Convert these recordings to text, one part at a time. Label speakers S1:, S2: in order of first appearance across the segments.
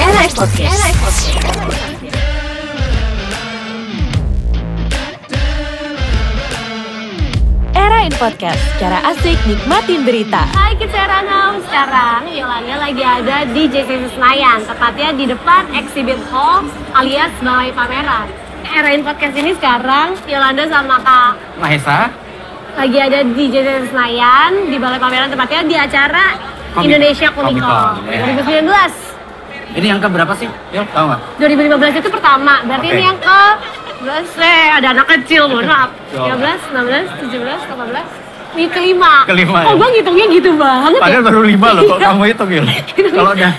S1: LI Podcast. Era in Podcast, cara asik nikmatin berita.
S2: Hai kids Erangau, sekarang Yolanda lagi ada di JCC Senayan, tepatnya di depan Exhibit Hall alias Balai Pameran. Erain podcast ini sekarang Yolanda sama Kak
S3: Mahesa,
S2: lagi ada di JCC Senayan di Balai Pameran tepatnya di acara
S3: Comic-
S2: Indonesia Comic
S3: Comic
S2: Con
S3: Con, ya.
S2: 2019.
S3: ini yang keberapa sih? Yul, tau nggak?
S2: 2015 itu pertama, berarti
S3: Oke.
S2: ini yang ke 11, eh ada anak kecil, mohon maaf.
S3: Jawab.
S2: 13, 16, 17, 18, ini kelima.
S3: Kelima,
S2: Kok
S3: ya.
S2: gue ngitungnya gitu banget ya?
S3: Padahal baru lima loh, kok
S2: Iya.
S3: kamu hitung Yul? Kalau udah,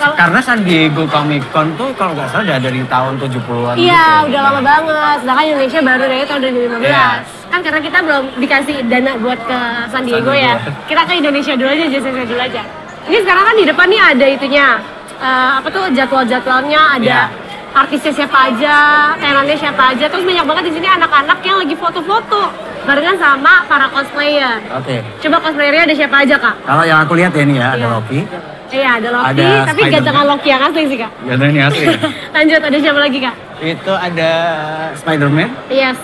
S2: Kalau-
S3: karena San Diego Comic Con tuh kalau nggak salah udah dari tahun 70-an
S2: Iya,
S3: gitu.
S2: udah lama banget. Sedangkan Indonesia baru dari tahun 2015.
S3: Iya.
S2: Kan karena kita belum dikasih dana buat ke San Diego
S3: San Diego.
S2: ya. Kita ke Indonesia dulu aja, JCC dulu aja. Ini sekarang kan di depan nih ada itunya. eh, apa tuh jadwal-jadwalnya ada
S3: Iya.
S2: artisnya siapa aja, tenannya siapa aja. Terus banyak banget di sini anak-anak yang lagi foto-foto barengan sama para cosplayer.
S3: Oke,
S2: Coba cosplayernya ada siapa aja, Kak?
S3: kalau yang aku lihat ya ini ya, ada
S2: Iya.
S3: Loki.
S2: Iya, ada Loki,
S3: Ada
S2: tapi
S3: Spider-Man.
S2: gantengan Loki yang asli sih, Kak.
S3: Ya, ada ini asli. ya.
S2: Lanjut, ada siapa lagi, Kak?
S3: itu ada Spider-Man.
S2: Yes.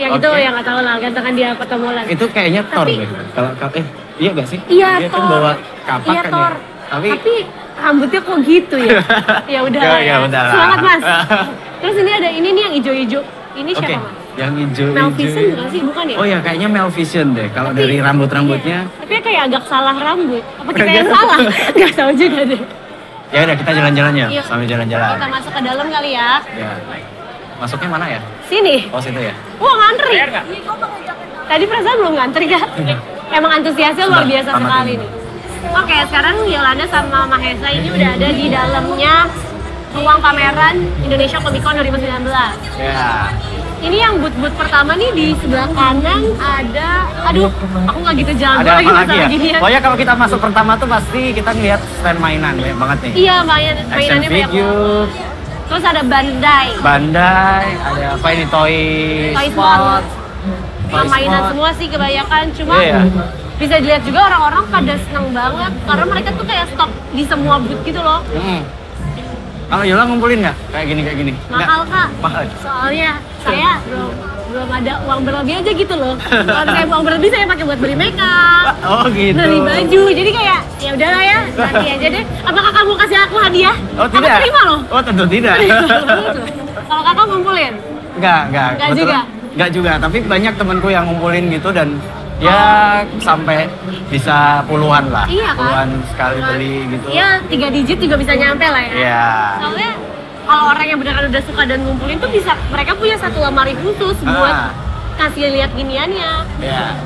S2: Yang itu
S3: Oke.
S2: yang nggak tahu lah, gantengan dia ketemu lagi.
S3: Itu kayaknya Thor
S2: Tapi-
S3: deh. Kalau kalau- eh iya nggak sih?
S2: Iya,
S3: Dia
S2: Thor.
S3: kan bawa kapak
S2: iya,
S3: kan
S2: Thor.
S3: ya.
S2: Tapi,
S3: Tapi,
S2: rambutnya kok gitu ya? ya udah lah
S3: Ya,
S2: ya.
S3: ya udah lah.
S2: Semangat, Mas. Terus ini ada ini nih yang ijo-ijo. Ini
S3: oke,
S2: siapa, Mas?
S3: yang hijau
S2: Malfison bukan sih? Bukan ya?
S3: Oh ya, kayaknya Malvision deh. Kalau
S2: Tapi-
S3: dari rambut-rambutnya,
S2: Iya. Tapi kayak agak salah rambut. Apa kita yang salah? Gak tahu juga deh.
S3: ya udah kita jalan-jalan ya,
S2: Iya.
S3: sambil jalan-jalan.
S2: Kita masuk ke dalam kali ya.
S3: Ya. Masuknya mana ya?
S2: Sini.
S3: Oh, situ ya.
S2: Wah, ngantri. Tadi perasaan belum ngantri kan? Emang antusiasnya luar
S3: Sebentar,
S2: biasa
S3: tamat
S2: sekali
S3: ini.
S2: nih. Oke, sekarang Yolanda sama Mahesa ini udah ada di dalamnya ruang pameran Indonesia Comic Con 2019.
S3: Ya.
S2: Ini yang booth-booth pertama nih di sebelah kanan ada, aduh, aku nggak gitu jago
S3: Ada apa
S2: masalah
S3: lagi ya?
S2: gini ya.
S3: Pokoknya kalau kita masuk pertama tuh pasti kita ngeliat stand mainan banyak banget nih.
S2: Iya, main,
S3: Action
S2: mainannya banyak banget.
S3: figure,
S2: Terus ada Bandai,
S3: bandai, ada apa ini toy,
S2: Toy
S3: spot,
S2: Spot. Nah, mainan semua sih kebanyakan, cuma
S3: Iya.
S2: bisa dilihat juga orang-orang pada seneng banget karena mereka tuh kayak stok di semua booth gitu loh.
S3: Hmm. Kalau Yola ngumpulin nggak? Kayak gini kayak gini. Nggak?
S2: Mahal kak,
S3: Mahal.
S2: soalnya saya belum belum ada uang berlebih aja gitu loh. Kalau saya uang berlebih saya pakai buat beli makeup,
S3: Oh gitu.
S2: beli baju, jadi kayak ya udahlah ya nanti aja deh. Apakah kamu kasih aku hadiah?
S3: Oh tidak.
S2: Aku terima loh.
S3: Oh tentu tidak.
S2: Kalau kakak ngumpulin,
S3: Enggak, enggak.
S2: Nggak
S3: Kebetulan-
S2: juga?
S3: Nggak juga, tapi banyak temanku yang ngumpulin gitu dan ya sampai bisa puluhan lah.
S2: Oh. Iya, kan?
S3: Puluhan sekali beli gitu.
S2: ya tiga digit juga bisa nyampe lah ya.
S3: Iya.
S2: Soalnya kalau orang yang beneran udah suka dan ngumpulin tuh bisa mereka punya satu lemari khusus buat
S3: Ah.
S2: kasih lihat giniannya.
S3: Iya.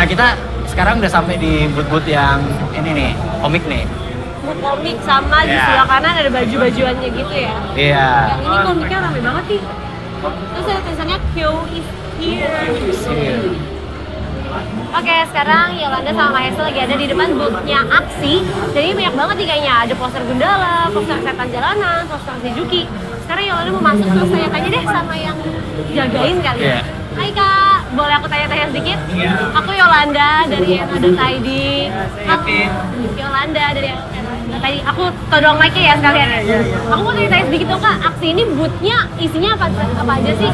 S3: Nah, kita sekarang udah sampai di booth-booth yang ini nih, komik nih.
S2: Buku komik sama di
S3: Ya.
S2: sebelah kanan ada baju-bajuannya gitu ya.
S3: Iya.
S2: Yang ini komiknya rame banget sih. Terus ada tulisannya Q is here.
S3: Iya.
S2: Oke, sekarang Yolanda sama Mahesa lagi ada di depan booth-nya Aksi. Jadi banyak banget nih kayaknya. Ada poster Gundala, poster Setan Jalanan, poster Shizuki. Sekarang Yolanda mau masuk terus saya tanya deh sama yang jagain kali ya.
S3: Iya.
S2: Hai kak, boleh aku tanya-tanya sedikit? Aku Yolanda dari Eno.id. Aku Yolanda dari Tadi aku todong mic ya sekalian ya. Aku mau tanya-tanya sedikit dong kak, aksi ini bootnya isinya apa, apa aja sih?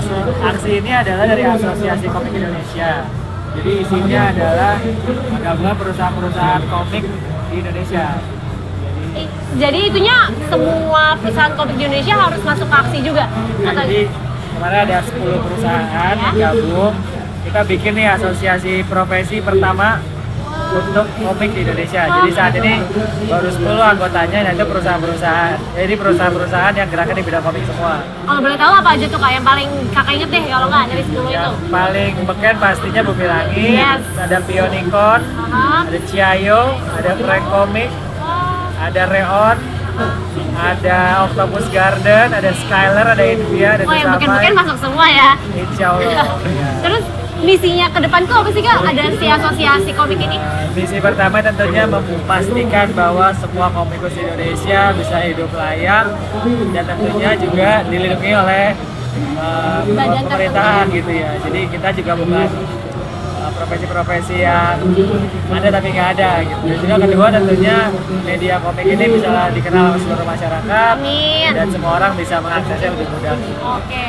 S4: Aksi ini adalah dari Asosiasi Komik Indonesia. Jadi isinya
S3: Iya.
S4: adalah gabungan perusahaan-perusahaan komik di Indonesia.
S2: Eh, Jadi itunya semua perusahaan komik di Indonesia harus masuk ke aksi juga?
S4: Nah,
S2: Atau-
S4: jadi kemarin ada 10 perusahaan gabung. Kita bikin nih asosiasi profesi pertama untuk komik di Indonesia. Jadi saat ini baru 10 anggotanya dan itu perusahaan-perusahaan. Jadi perusahaan-perusahaan yang gerakan di bidang komik semua.
S2: Kalau boleh tahu apa aja tuh kak yang paling kakak inget deh kalau nggak dari 10 itu?
S4: Yang paling beken pastinya Bumi Langit,
S2: Yes.
S4: ada Pionikon,
S2: Aha.
S4: ada Ciayo, ada Frank Comic,
S2: Oh,
S4: ada Reon, ada Nah, Octopus Garden, ada Skyler, ada India, ada
S2: Oh yang beken-beken
S4: Desamai.
S2: masuk semua ya?
S4: Insya Allah. Ya.
S2: Terus misinya ke depan tuh apa sih kak? Ada si asosiasi komik ini?
S4: Eh, Misi pertama tentunya memastikan bahwa semua komikus Indonesia bisa hidup layak dan tentunya juga dilindungi oleh eh,
S2: Badan
S4: pemerintahan gitu ya. Jadi kita juga bukan eh, profesi-profesi yang ada tapi nggak ada gitu. Dan juga kedua tentunya media komik ini bisa dikenal oleh seluruh masyarakat
S2: Amin.
S4: dan semua orang bisa mengaksesnya lebih mudah.
S2: Oke.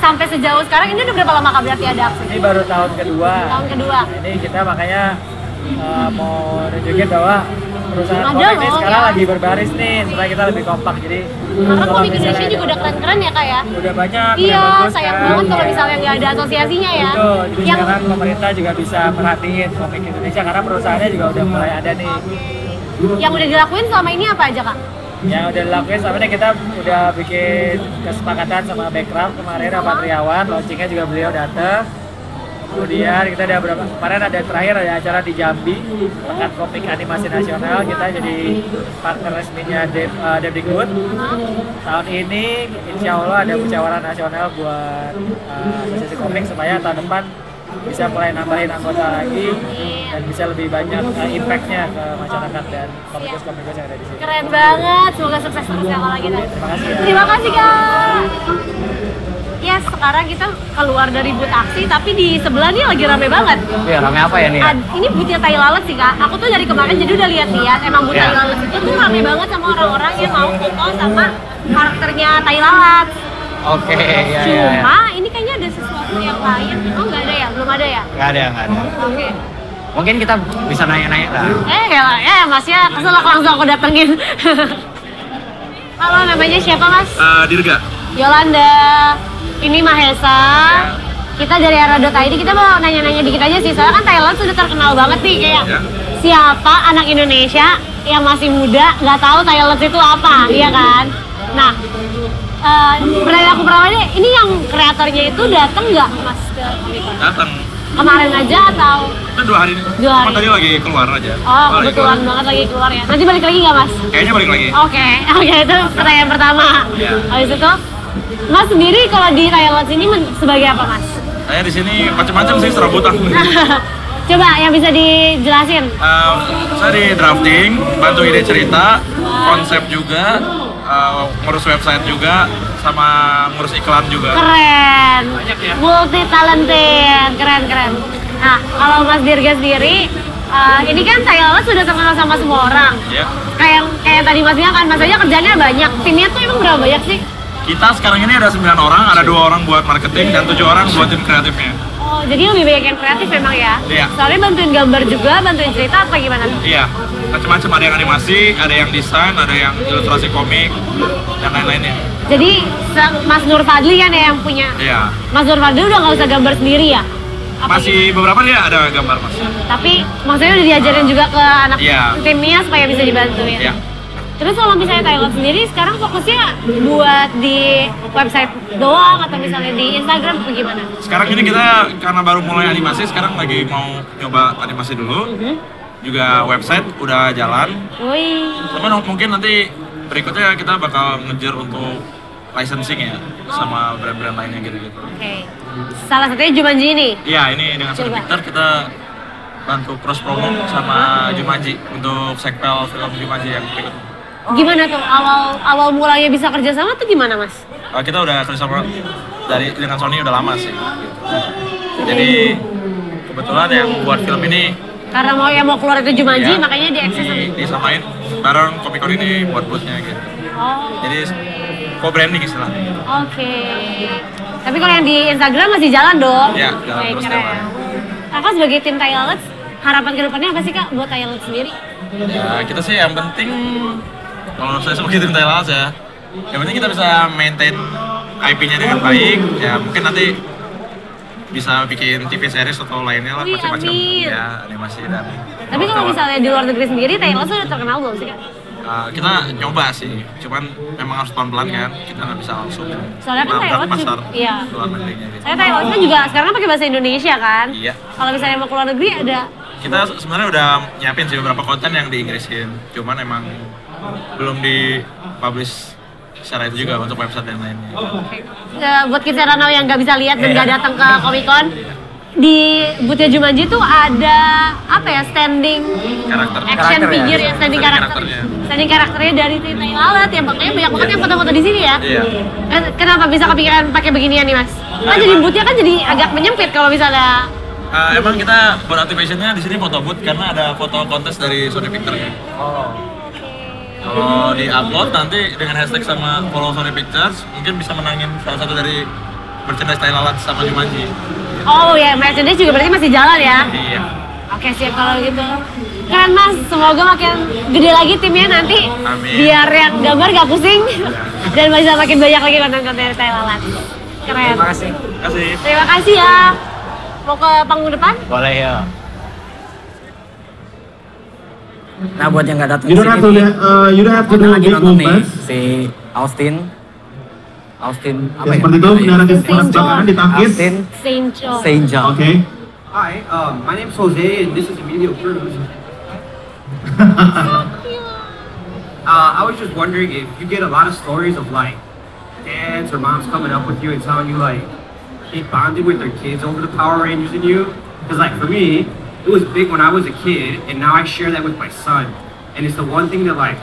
S2: Sampai sejauh sekarang ini udah berapa lama Kak berarti ada aksi?
S4: Ini baru tahun kedua.
S2: Tahun kedua.
S4: Nah, Ini kita makanya eh, mau nunjukin bahwa perusahaan
S2: Ada
S4: komik ini
S2: loh,
S4: sekarang
S2: ya.
S4: lagi berbaris nih, supaya kita lebih kompak. Jadi
S2: Karena
S4: kalau
S2: komik
S4: misalnya
S2: Indonesia
S4: ada-
S2: juga udah keren-keren ya Kak ya.
S4: udah banyak,
S2: Iya,
S4: udah bagus
S2: sayang
S4: kan.
S2: banget kalau
S4: Iya.
S2: misalnya nggak ada asosiasinya ya.
S4: Betul, jadi
S2: Yang
S4: sekarang pemerintah juga bisa merhatiin komik Indonesia karena perusahaannya juga udah mulai ada nih.
S2: yang udah dilakuin selama ini apa aja Kak?
S4: Yang udah dilakuin sama ini kita udah bikin kesepakatan sama background kemarin Pak Triawan, launchingnya juga beliau datang. Kemudian kita ada berapa kemarin ada terakhir ada acara di Jambi pekan komik animasi nasional kita jadi partner resminya Dep uh, Depdikbud. Tahun ini insya Allah ada musyawarah nasional buat uh, asosiasi komik supaya tahun depan bisa mulai nambahin anggota lagi dan bisa lebih banyak uh, impactnya ke masyarakat dan komikus-komikus yang ada di sini.
S2: Keren banget, semoga sukses terus ya kalau gitu.
S4: Terima kasih ya.
S2: Terima kasih kak. Ya sekarang kita keluar dari booth aksi, tapi di sebelahnya lagi rame banget.
S5: Iya, rame apa ya nih? ya?
S2: Ad- ini boothnya tai lalat sih kak. Aku tuh dari kemarin jadi udah lihat-lihat. Emang booth tai
S5: Iya.
S2: lalat itu tuh rame banget sama orang-orang yang mau foto sama karakternya tai lalat.
S5: Oke,
S3: Ya,
S5: iya iya. iya.
S2: Cuma ini kayaknya ada sesuatu yang lain. Oh nggak ada ya, belum ada ya.
S5: Nggak ada, nggak ada.
S2: Oke.
S5: Mungkin kita bisa nanya-nanya lah.
S2: Eh, ya, eh, masnya kesel aku langsung aku datengin. Halo, namanya siapa mas?
S6: Eh, Dirga,
S2: Yolanda, ini Mahesa.
S6: Ya.
S2: Kita dari Aradot ID, kita mau nanya-nanya dikit aja sih. Soalnya kan Thailand sudah terkenal banget nih kayak
S6: Ya.
S2: siapa anak Indonesia yang masih muda nggak tahu Thailand itu apa, iya kan? Nah, eh perilaku perawannya ini yang kreatornya itu datang nggak mas ke Comic Con?
S6: datang.
S2: Kemarin aja atau?
S6: Itu dua hari ini.
S2: Dua hari.
S6: Cuma tadi lagi keluar aja.
S2: Oh,
S6: Lagi
S2: kebetulan banget lagi keluar ya. Nanti balik lagi nggak mas?
S6: Kayaknya balik lagi.
S2: Oke, oke itu pertanyaan pertama.
S6: Iya.
S2: Habis itu, Mas sendiri kalau di Thailand sini men- sebagai apa Mas?
S6: Saya di sini macam-macam sih serabutan.
S2: Coba yang bisa dijelasin.
S6: Eh, saya di drafting, bantu ide cerita, konsep juga, eh, ngurus website juga, sama ngurus iklan juga.
S2: Keren.
S6: Banyak ya.
S2: Multi talented, keren keren. Nah, kalau Mas Dirga sendiri, eh, ini kan Thailand sudah terkenal sama semua orang.
S6: Ya.
S2: Kayak kayak tadi Mas bilang kan, Mas aja kerjanya banyak. Timnya tuh emang berapa banyak sih?
S6: Kita sekarang ini ada 9 orang, ada dua orang buat marketing dan tujuh orang buat tim kreatifnya.
S2: Oh, jadi lebih banyak yang kreatif memang ya?
S6: Iya.
S2: Soalnya bantuin gambar juga, bantuin cerita apa gimana?
S6: Iya, macam-macam ada yang animasi, ada yang desain, ada yang ilustrasi komik dan lain-lainnya.
S2: Jadi se- Mas Nur Fadli kan ya yang punya.
S6: Iya.
S2: Mas Nur Fadli udah nggak usah gambar sendiri ya? Apa gitu?
S6: Masih beberapa dia ada gambar masih.
S2: Tapi maksudnya udah diajarin juga ke anak
S6: Iya.
S2: timnya supaya bisa dibantuin.
S6: Iya.
S2: Terus kalau misalnya Thailand sendiri sekarang fokusnya buat di website doang atau misalnya di Instagram atau gimana?
S6: Sekarang ini kita karena baru mulai animasi, sekarang lagi mau nyoba animasi dulu. Juga website udah jalan.
S2: Wih,
S6: Tapi no- mungkin nanti berikutnya kita bakal ngejar untuk licensing ya sama brand-brand lainnya gitu-gitu.
S2: oke. Salah satunya Jumanji ini.
S6: Iya, ini dengan Sony
S2: Coba.
S6: Pictures kita bantu cross promo sama Jumanji untuk sekpel film Jumanji yang berikut.
S2: Gimana tuh awal awal mulanya bisa kerja sama tuh gimana mas?
S6: Eh, kita udah kerjasama dari dengan Sony udah lama sih. gitu. Jadi kebetulan yang buat film ini
S2: Karena mau yang mau keluar itu Jumanji,
S6: ya,
S2: makanya diakses sama.
S6: di- disamain bareng Comic Con ini buat boothnya gitu.
S2: Oh.
S6: Jadi co-branding istilahnya. gitu.
S2: Oke. Tapi kalau yang di Instagram masih jalan dong?
S6: Iya, jalan
S2: Oke,
S6: terus
S2: keren.
S6: jalan.
S2: Kakak sebagai tim Thailand, harapan kedepannya apa sih kak buat Thailand sendiri?
S6: Ya kita sih yang penting kalau saya sebagai tim Thailand ya, yang penting kita bisa maintain IP-nya dengan baik. Ya mungkin nanti bisa bikin TV series atau lainnya lah
S2: Wih,
S6: macam-macam
S2: amin.
S6: ya animasi dan
S2: Tapi kalau
S6: wartawan.
S2: misalnya di luar negeri sendiri, Thailand sudah terkenal belum sih kak?
S6: Uh, kita nyoba sih, cuman memang harus pelan-pelan kan, kita nggak bisa langsung
S2: Soalnya kan
S6: nabrak
S2: Taiwan juga-
S6: pasar
S2: iya.
S6: luar negerinya gitu.
S2: Saya Thailand kan juga sekarang kan pakai bahasa Indonesia kan?
S6: Iya.
S2: Kalau misalnya mau keluar negeri ada
S6: Kita se- sebenarnya udah nyiapin sih beberapa konten yang diinggrisin, cuman emang belum di publish secara itu juga untuk website dan lainnya.
S2: eh, buat kita Ranau yang nggak bisa lihat dan
S6: Iya.
S2: nggak datang ke Comic Con di Butia Jumanji tuh ada apa ya standing
S6: Karakter.
S2: action
S4: Karakter ya.
S2: figure ya, standing
S6: Standing
S2: karakter
S6: karakternya.
S2: standing karakternya dari Thailand yang makanya banyak banget yang foto-foto di sini ya
S6: Iya.
S2: Ken- Kenapa bisa kepikiran pakai beginian nih mas? Kan jadi bootnya kan jadi agak menyempit kalau misalnya
S6: eh, emang kita buat activationnya di sini foto booth karena ada foto kontes dari Sony Picture ya.
S5: Oh,
S6: Kalau di upload nanti dengan hashtag sama follow Sony Pictures mungkin bisa menangin salah satu dari merchandise Thai Lalat sama Jumanji.
S2: Oh ya, merchandise juga berarti masih jalan ya?
S6: Iya.
S2: Oke siap kalau gitu. Keren mas, semoga makin gede lagi timnya nanti.
S6: Amin.
S2: Biar yang gambar gak pusing dan bisa makin banyak lagi konten-konten dari Thailand. Keren.
S4: Terima kasih.
S6: Terima kasih.
S2: Terima kasih ya. Mau ke panggung depan?
S5: Boleh ya.
S4: Nah buat yang nggak datang
S7: You don't have to.
S4: sini,
S7: Uh, you don't have to
S4: kita
S7: do
S4: lagi
S7: big
S4: nonton nih
S7: movements.
S4: si Austin. Austin
S7: Ya, seperti itu, bendera ke sebelah kanan ditangkis.
S4: Austin
S2: Sencho.
S4: Saint John.
S7: Oke.
S8: Hi, um, my name's Jose, and this is Emilio Cruz. Uh, I was just wondering if you get a lot of stories of like dads or moms coming up with you and telling you like they bonded with their kids over the Power Rangers and you. Because like for me, it was big when I was a kid, and now I share that with my son. And it's the one thing that like,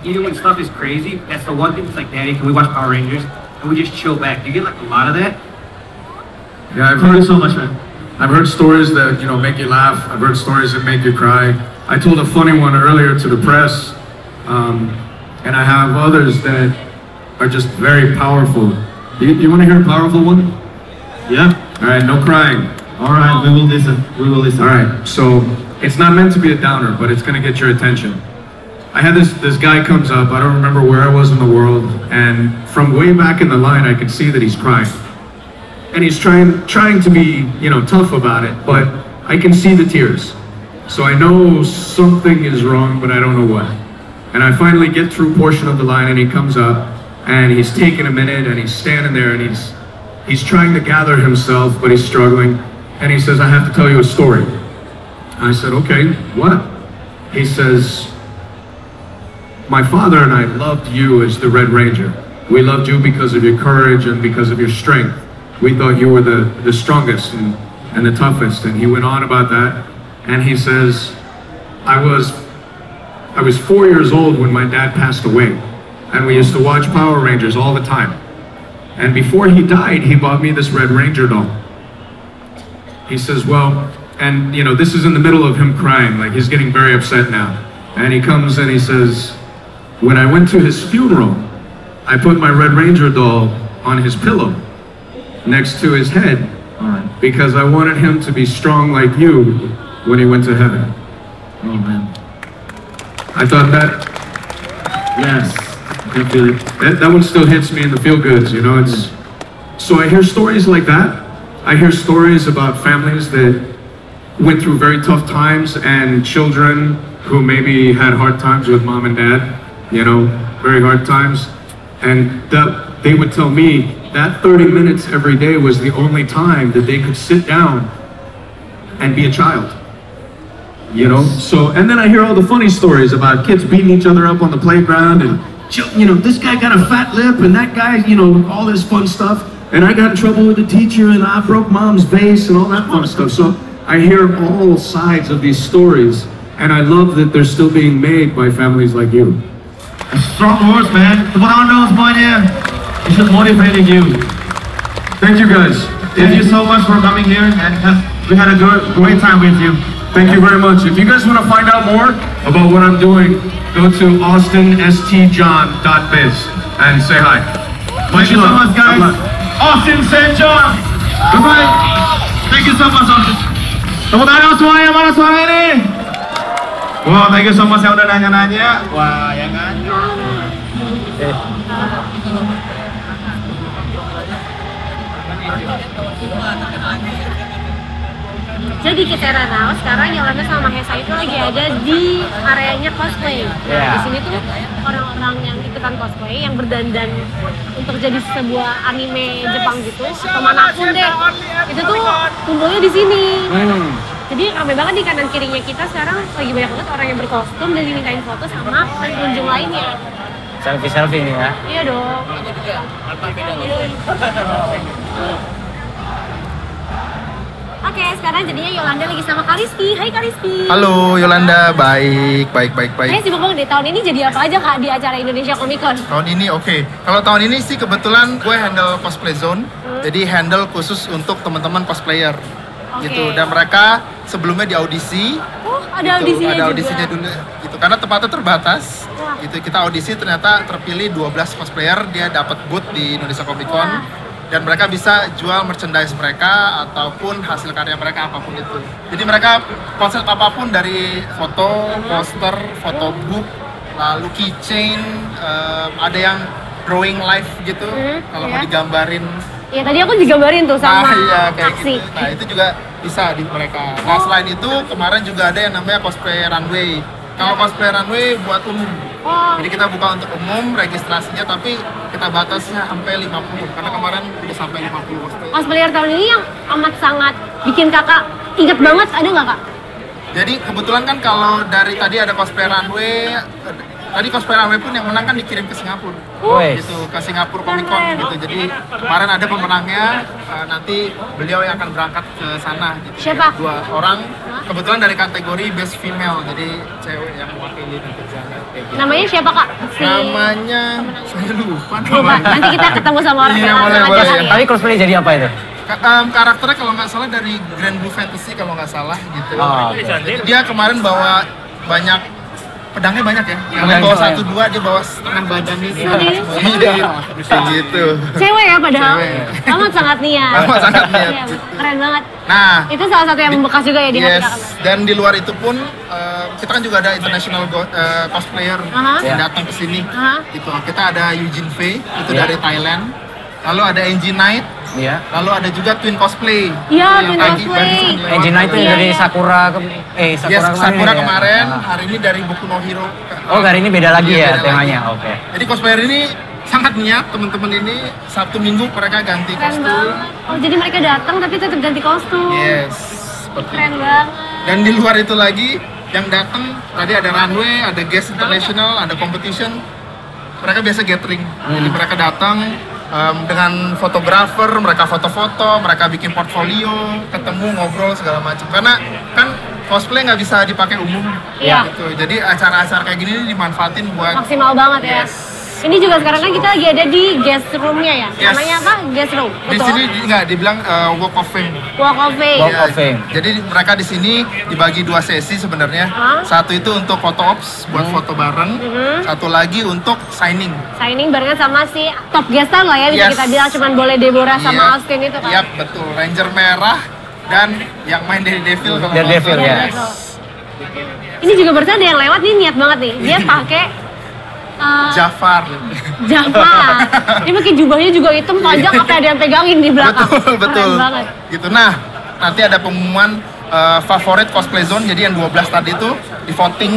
S8: even when stuff is crazy, that's the one thing that's like, Daddy, can we watch Power Rangers? And we just chill back. Do you get like a lot of that?
S1: Yeah, I've
S7: Thank you
S1: heard,
S7: so much, man.
S1: I've heard stories that, you know, make you laugh. I've heard stories that make you cry. I told a funny one earlier to the press, um, and I have others that are just very powerful. You, you want to hear a powerful one?
S7: Yeah.
S1: All right, no crying.
S7: All right. We will listen. We will listen.
S1: All right, so it's not meant to be a downer, but it's going to get your attention. I had this, this guy comes up, I don't remember where I was in the world, and from way back in the line, I could see that he's crying. and he's trying trying to be you know tough about it but i can see the tears so i know something is wrong but i don't know what and i finally get through portion of the line and he comes up and he's taking a minute and he's standing there and he's he's trying to gather himself but he's struggling and he says i have to tell you a story i said okay what he says my father and I loved you as the Red Ranger. We loved you because of your courage and because of your strength. We thought you were the, the strongest and, and the toughest. And he went on about that. And he says, I was I was four years old when my dad passed away. And we used to watch Power Rangers all the time. And before he died, he bought me this Red Ranger doll he says, well, and you know, this is in the middle of him crying, like he's getting very upset now. And he comes and he says, when I went to his funeral, I put my Red Ranger doll on his pillow next to his head because I wanted him to be strong like you when he went to heaven. I thought that
S7: Yes. I can feel it.
S1: that, that one still hits me in the feel goods, you know. It's so I hear stories like that. I hear stories about families that went through very tough times and children who maybe had hard times with mom and dad, you know, very hard times. And that they would tell me that 30 minutes every day was the only time that they could sit down and be a child. You know, so and then I hear all the funny stories about kids beating each other up on the playground and chil- you know this guy got a fat lip and that guy you know all this fun stuff and I got in trouble with the teacher and I broke mom's vase and all that fun stuff. So I hear all sides of these stories and I love that they're still being made by families like you.
S7: Strong words, man. Put on those, boy. There. It's just motivating you.
S1: Thank you guys.
S7: Thank you so much for coming here, and have- we had a good, great time with you.
S1: Thank you very much. If you guys want to find out more about what I'm doing, go to austinstjohn.biz and say hi.
S7: Thank you so much, guys. Austin St. John. Goodbye. Thank you so much, Austin. Tepuk tangan semuanya mana suara ini? Wow, thank you so much yang udah nanya-nanya. Wah, ya kan?
S2: Jadi kita Ranau sekarang Yolanda sama Mahesa itu lagi ada di areanya cosplay. Nah,
S4: Iya.
S2: di sini tuh orang-orang yang ikutan cosplay yang berdandan untuk jadi sebuah anime Jepang gitu atau manapun deh. Itu tuh kumpulnya di sini.
S4: Hmm.
S2: Jadi ramai banget di kanan kirinya kita sekarang lagi banyak banget orang yang berkostum dan dimintain foto sama pengunjung lainnya.
S4: Selfie selfie nih ya.
S2: Iya dong. Oke, sekarang jadinya Yolanda lagi sama Kariski. Hai Kariski.
S9: Halo Yolanda, baik, baik, baik, baik.
S2: Saya sibuk banget deh, tahun ini jadi apa aja kak di acara Indonesia Comic Con?
S9: Tahun ini oke. Kalau tahun ini sih kebetulan gue handle cosplay zone, jadi handle khusus untuk teman-teman cosplayer. gitu.
S2: Oke.
S9: Dan mereka sebelumnya di audisi,
S2: Oh, ada
S9: gitu.
S2: audisinya
S9: ada
S2: juga. ya?
S9: audisinya dulu, gitu. Karena tempatnya terbatas,
S2: Wah.
S9: gitu. Kita audisi ternyata terpilih 12 cosplayer, dia dapat booth di Indonesia Comic Con.
S2: Wah.
S9: Dan mereka bisa jual merchandise mereka ataupun hasil karya mereka apapun itu. Jadi mereka konsep apapun dari foto, poster, photobook, lalu keychain, eh, ada yang drawing live gitu.
S2: Hmm,
S9: Kalau
S2: iya.
S9: mau digambarin
S2: Ya tadi aku digambarin tuh
S9: nah,
S2: sama
S9: iya, kayak
S2: aksi.
S9: gitu. Nah, itu juga bisa di mereka. Nah, selain itu kemarin juga ada yang namanya cosplay runway. Kalau cosplay runway buat umum.
S2: Oh,
S9: Jadi kita buka untuk umum registrasinya tapi kita batasnya sampai 50 karena kemarin udah sampai 50 cosplay.
S2: cosplayer tahun ini yang amat sangat bikin kakak inget banget ada nggak kak?
S9: Jadi kebetulan kan kalau dari tadi ada cosplay runway eh, tadi cosplay runway pun yang menang kan dikirim ke Singapura.
S5: Wes.
S9: gitu ke Singapura Comic Con gitu. Jadi kemarin ada pemenangnya eh, nanti beliau yang akan berangkat ke sana gitu.
S2: Siapa?
S9: Dua orang kebetulan dari kategori best female jadi cewek yang mewakili nanti ke sana. kayak gitu.
S2: Namanya siapa kak? Si...
S9: Namanya saya lupa
S2: Lupa.
S9: namanya.
S2: Nanti kita ketemu sama orang
S9: Iya,
S2: yang langsung
S9: boleh,
S2: aja
S9: boleh,
S2: kali ya.
S5: Tapi cosplay jadi apa itu?
S9: Ka- em, karakternya kalau nggak salah dari Grand Blue Fantasy kalau nggak salah gitu.
S5: Oh, oke.
S9: Jadi dia kemarin bawa banyak pedangnya banyak ya.
S5: Pedang
S9: Yang bawa
S5: keren.
S9: satu dua dia bawa setengah badannya.
S2: Serius?
S9: Iya. Kayak gitu.
S2: Cewek ya padahal.
S9: Cewek.
S2: Amat sangat niat.
S9: Amat sangat niat.
S2: Iya, keren banget.
S9: Nah,
S2: Itu salah satu yang membekas juga ya di hati
S9: Yes,
S2: kakak.
S9: dan di luar itu pun eh, kita kan juga ada international go- eh, cosplayer
S2: Aha.
S5: Iya.
S9: yang datang ke sini.
S2: Aha.
S9: Gitu. Kita ada Eugene Fei, itu
S5: Iya.
S9: dari Thailand. Lalu ada Angie Knight,
S5: Iya.
S9: lalu ada juga Twin Cosplay.
S2: Iya,
S9: Yang
S2: Twin
S9: tadi
S2: Cosplay.
S9: barusan lewat.
S5: Engine Night itu
S2: Iya,
S5: dari
S2: iya.
S5: Sakura ke, eh Sakura
S9: Yes,
S5: kemarin.
S9: Sakura
S5: ya?
S9: kemarin,
S5: Ah.
S9: hari ini dari Boku no Hero.
S5: Oh, hari ini beda lagi
S9: Iya,
S5: ya
S9: beda
S5: temanya.
S9: lagi.
S5: Oke.
S9: Jadi cosplayer ini sangat niat teman-teman ini Sabtu Minggu mereka ganti
S2: Keren
S9: kostum.
S2: banget. Oh jadi mereka datang tapi tetap ganti kostum.
S9: Yes, seperti
S2: Keren banget.
S9: Dan di luar itu lagi yang datang tadi ada runway, ada guest international, ada competition. Mereka biasa gathering.
S2: Hmm.
S9: Jadi mereka datang em, dengan fotografer, mereka foto-foto, mereka bikin portfolio, ketemu ngobrol segala macam. Karena kan cosplay nggak bisa dipakai umum.
S2: Iya.
S9: Gitu. Jadi acara-acara kayak gini dimanfaatin buat
S2: Maksimal banget ya. Ini juga sekarang kan kita lagi ada di guest roomnya ya.
S9: Yes.
S2: Namanya apa? Guest room.
S9: di
S2: Betul.
S9: sini di- nggak dibilang eh, walk of fame.
S2: Walk of Fame.
S5: Walk of Fame.
S9: Iya, Jadi mereka di sini dibagi dua sesi sebenarnya.
S2: Hah? Mhm.
S9: Satu itu untuk foto ops buat
S5: Hmm.
S9: foto bareng. Satu lagi untuk signing.
S2: Signing barengan sama si top guestan lah ya bisa
S9: Yes.
S2: kita bilang cuman boleh Deborah sama
S9: Iya.
S2: Austin itu kan.
S9: Yap, betul. Ranger merah dan yang main dari Devil kalau nggak
S5: Daredevil,
S9: salah.
S5: ya.
S2: Iya, Ini juga barusan ada yang lewat nih niat banget nih. Dia pakai eh,
S9: Jafar.
S2: Java. Ini pakai jubahnya juga hitam panjang apa ada yang pegangin di belakang.
S9: betul, betul.
S2: Keren banget.
S9: Gitu. Nah, nanti ada pengumuman eh, favorit cosplay zone. Jadi yang 12 tadi itu di voting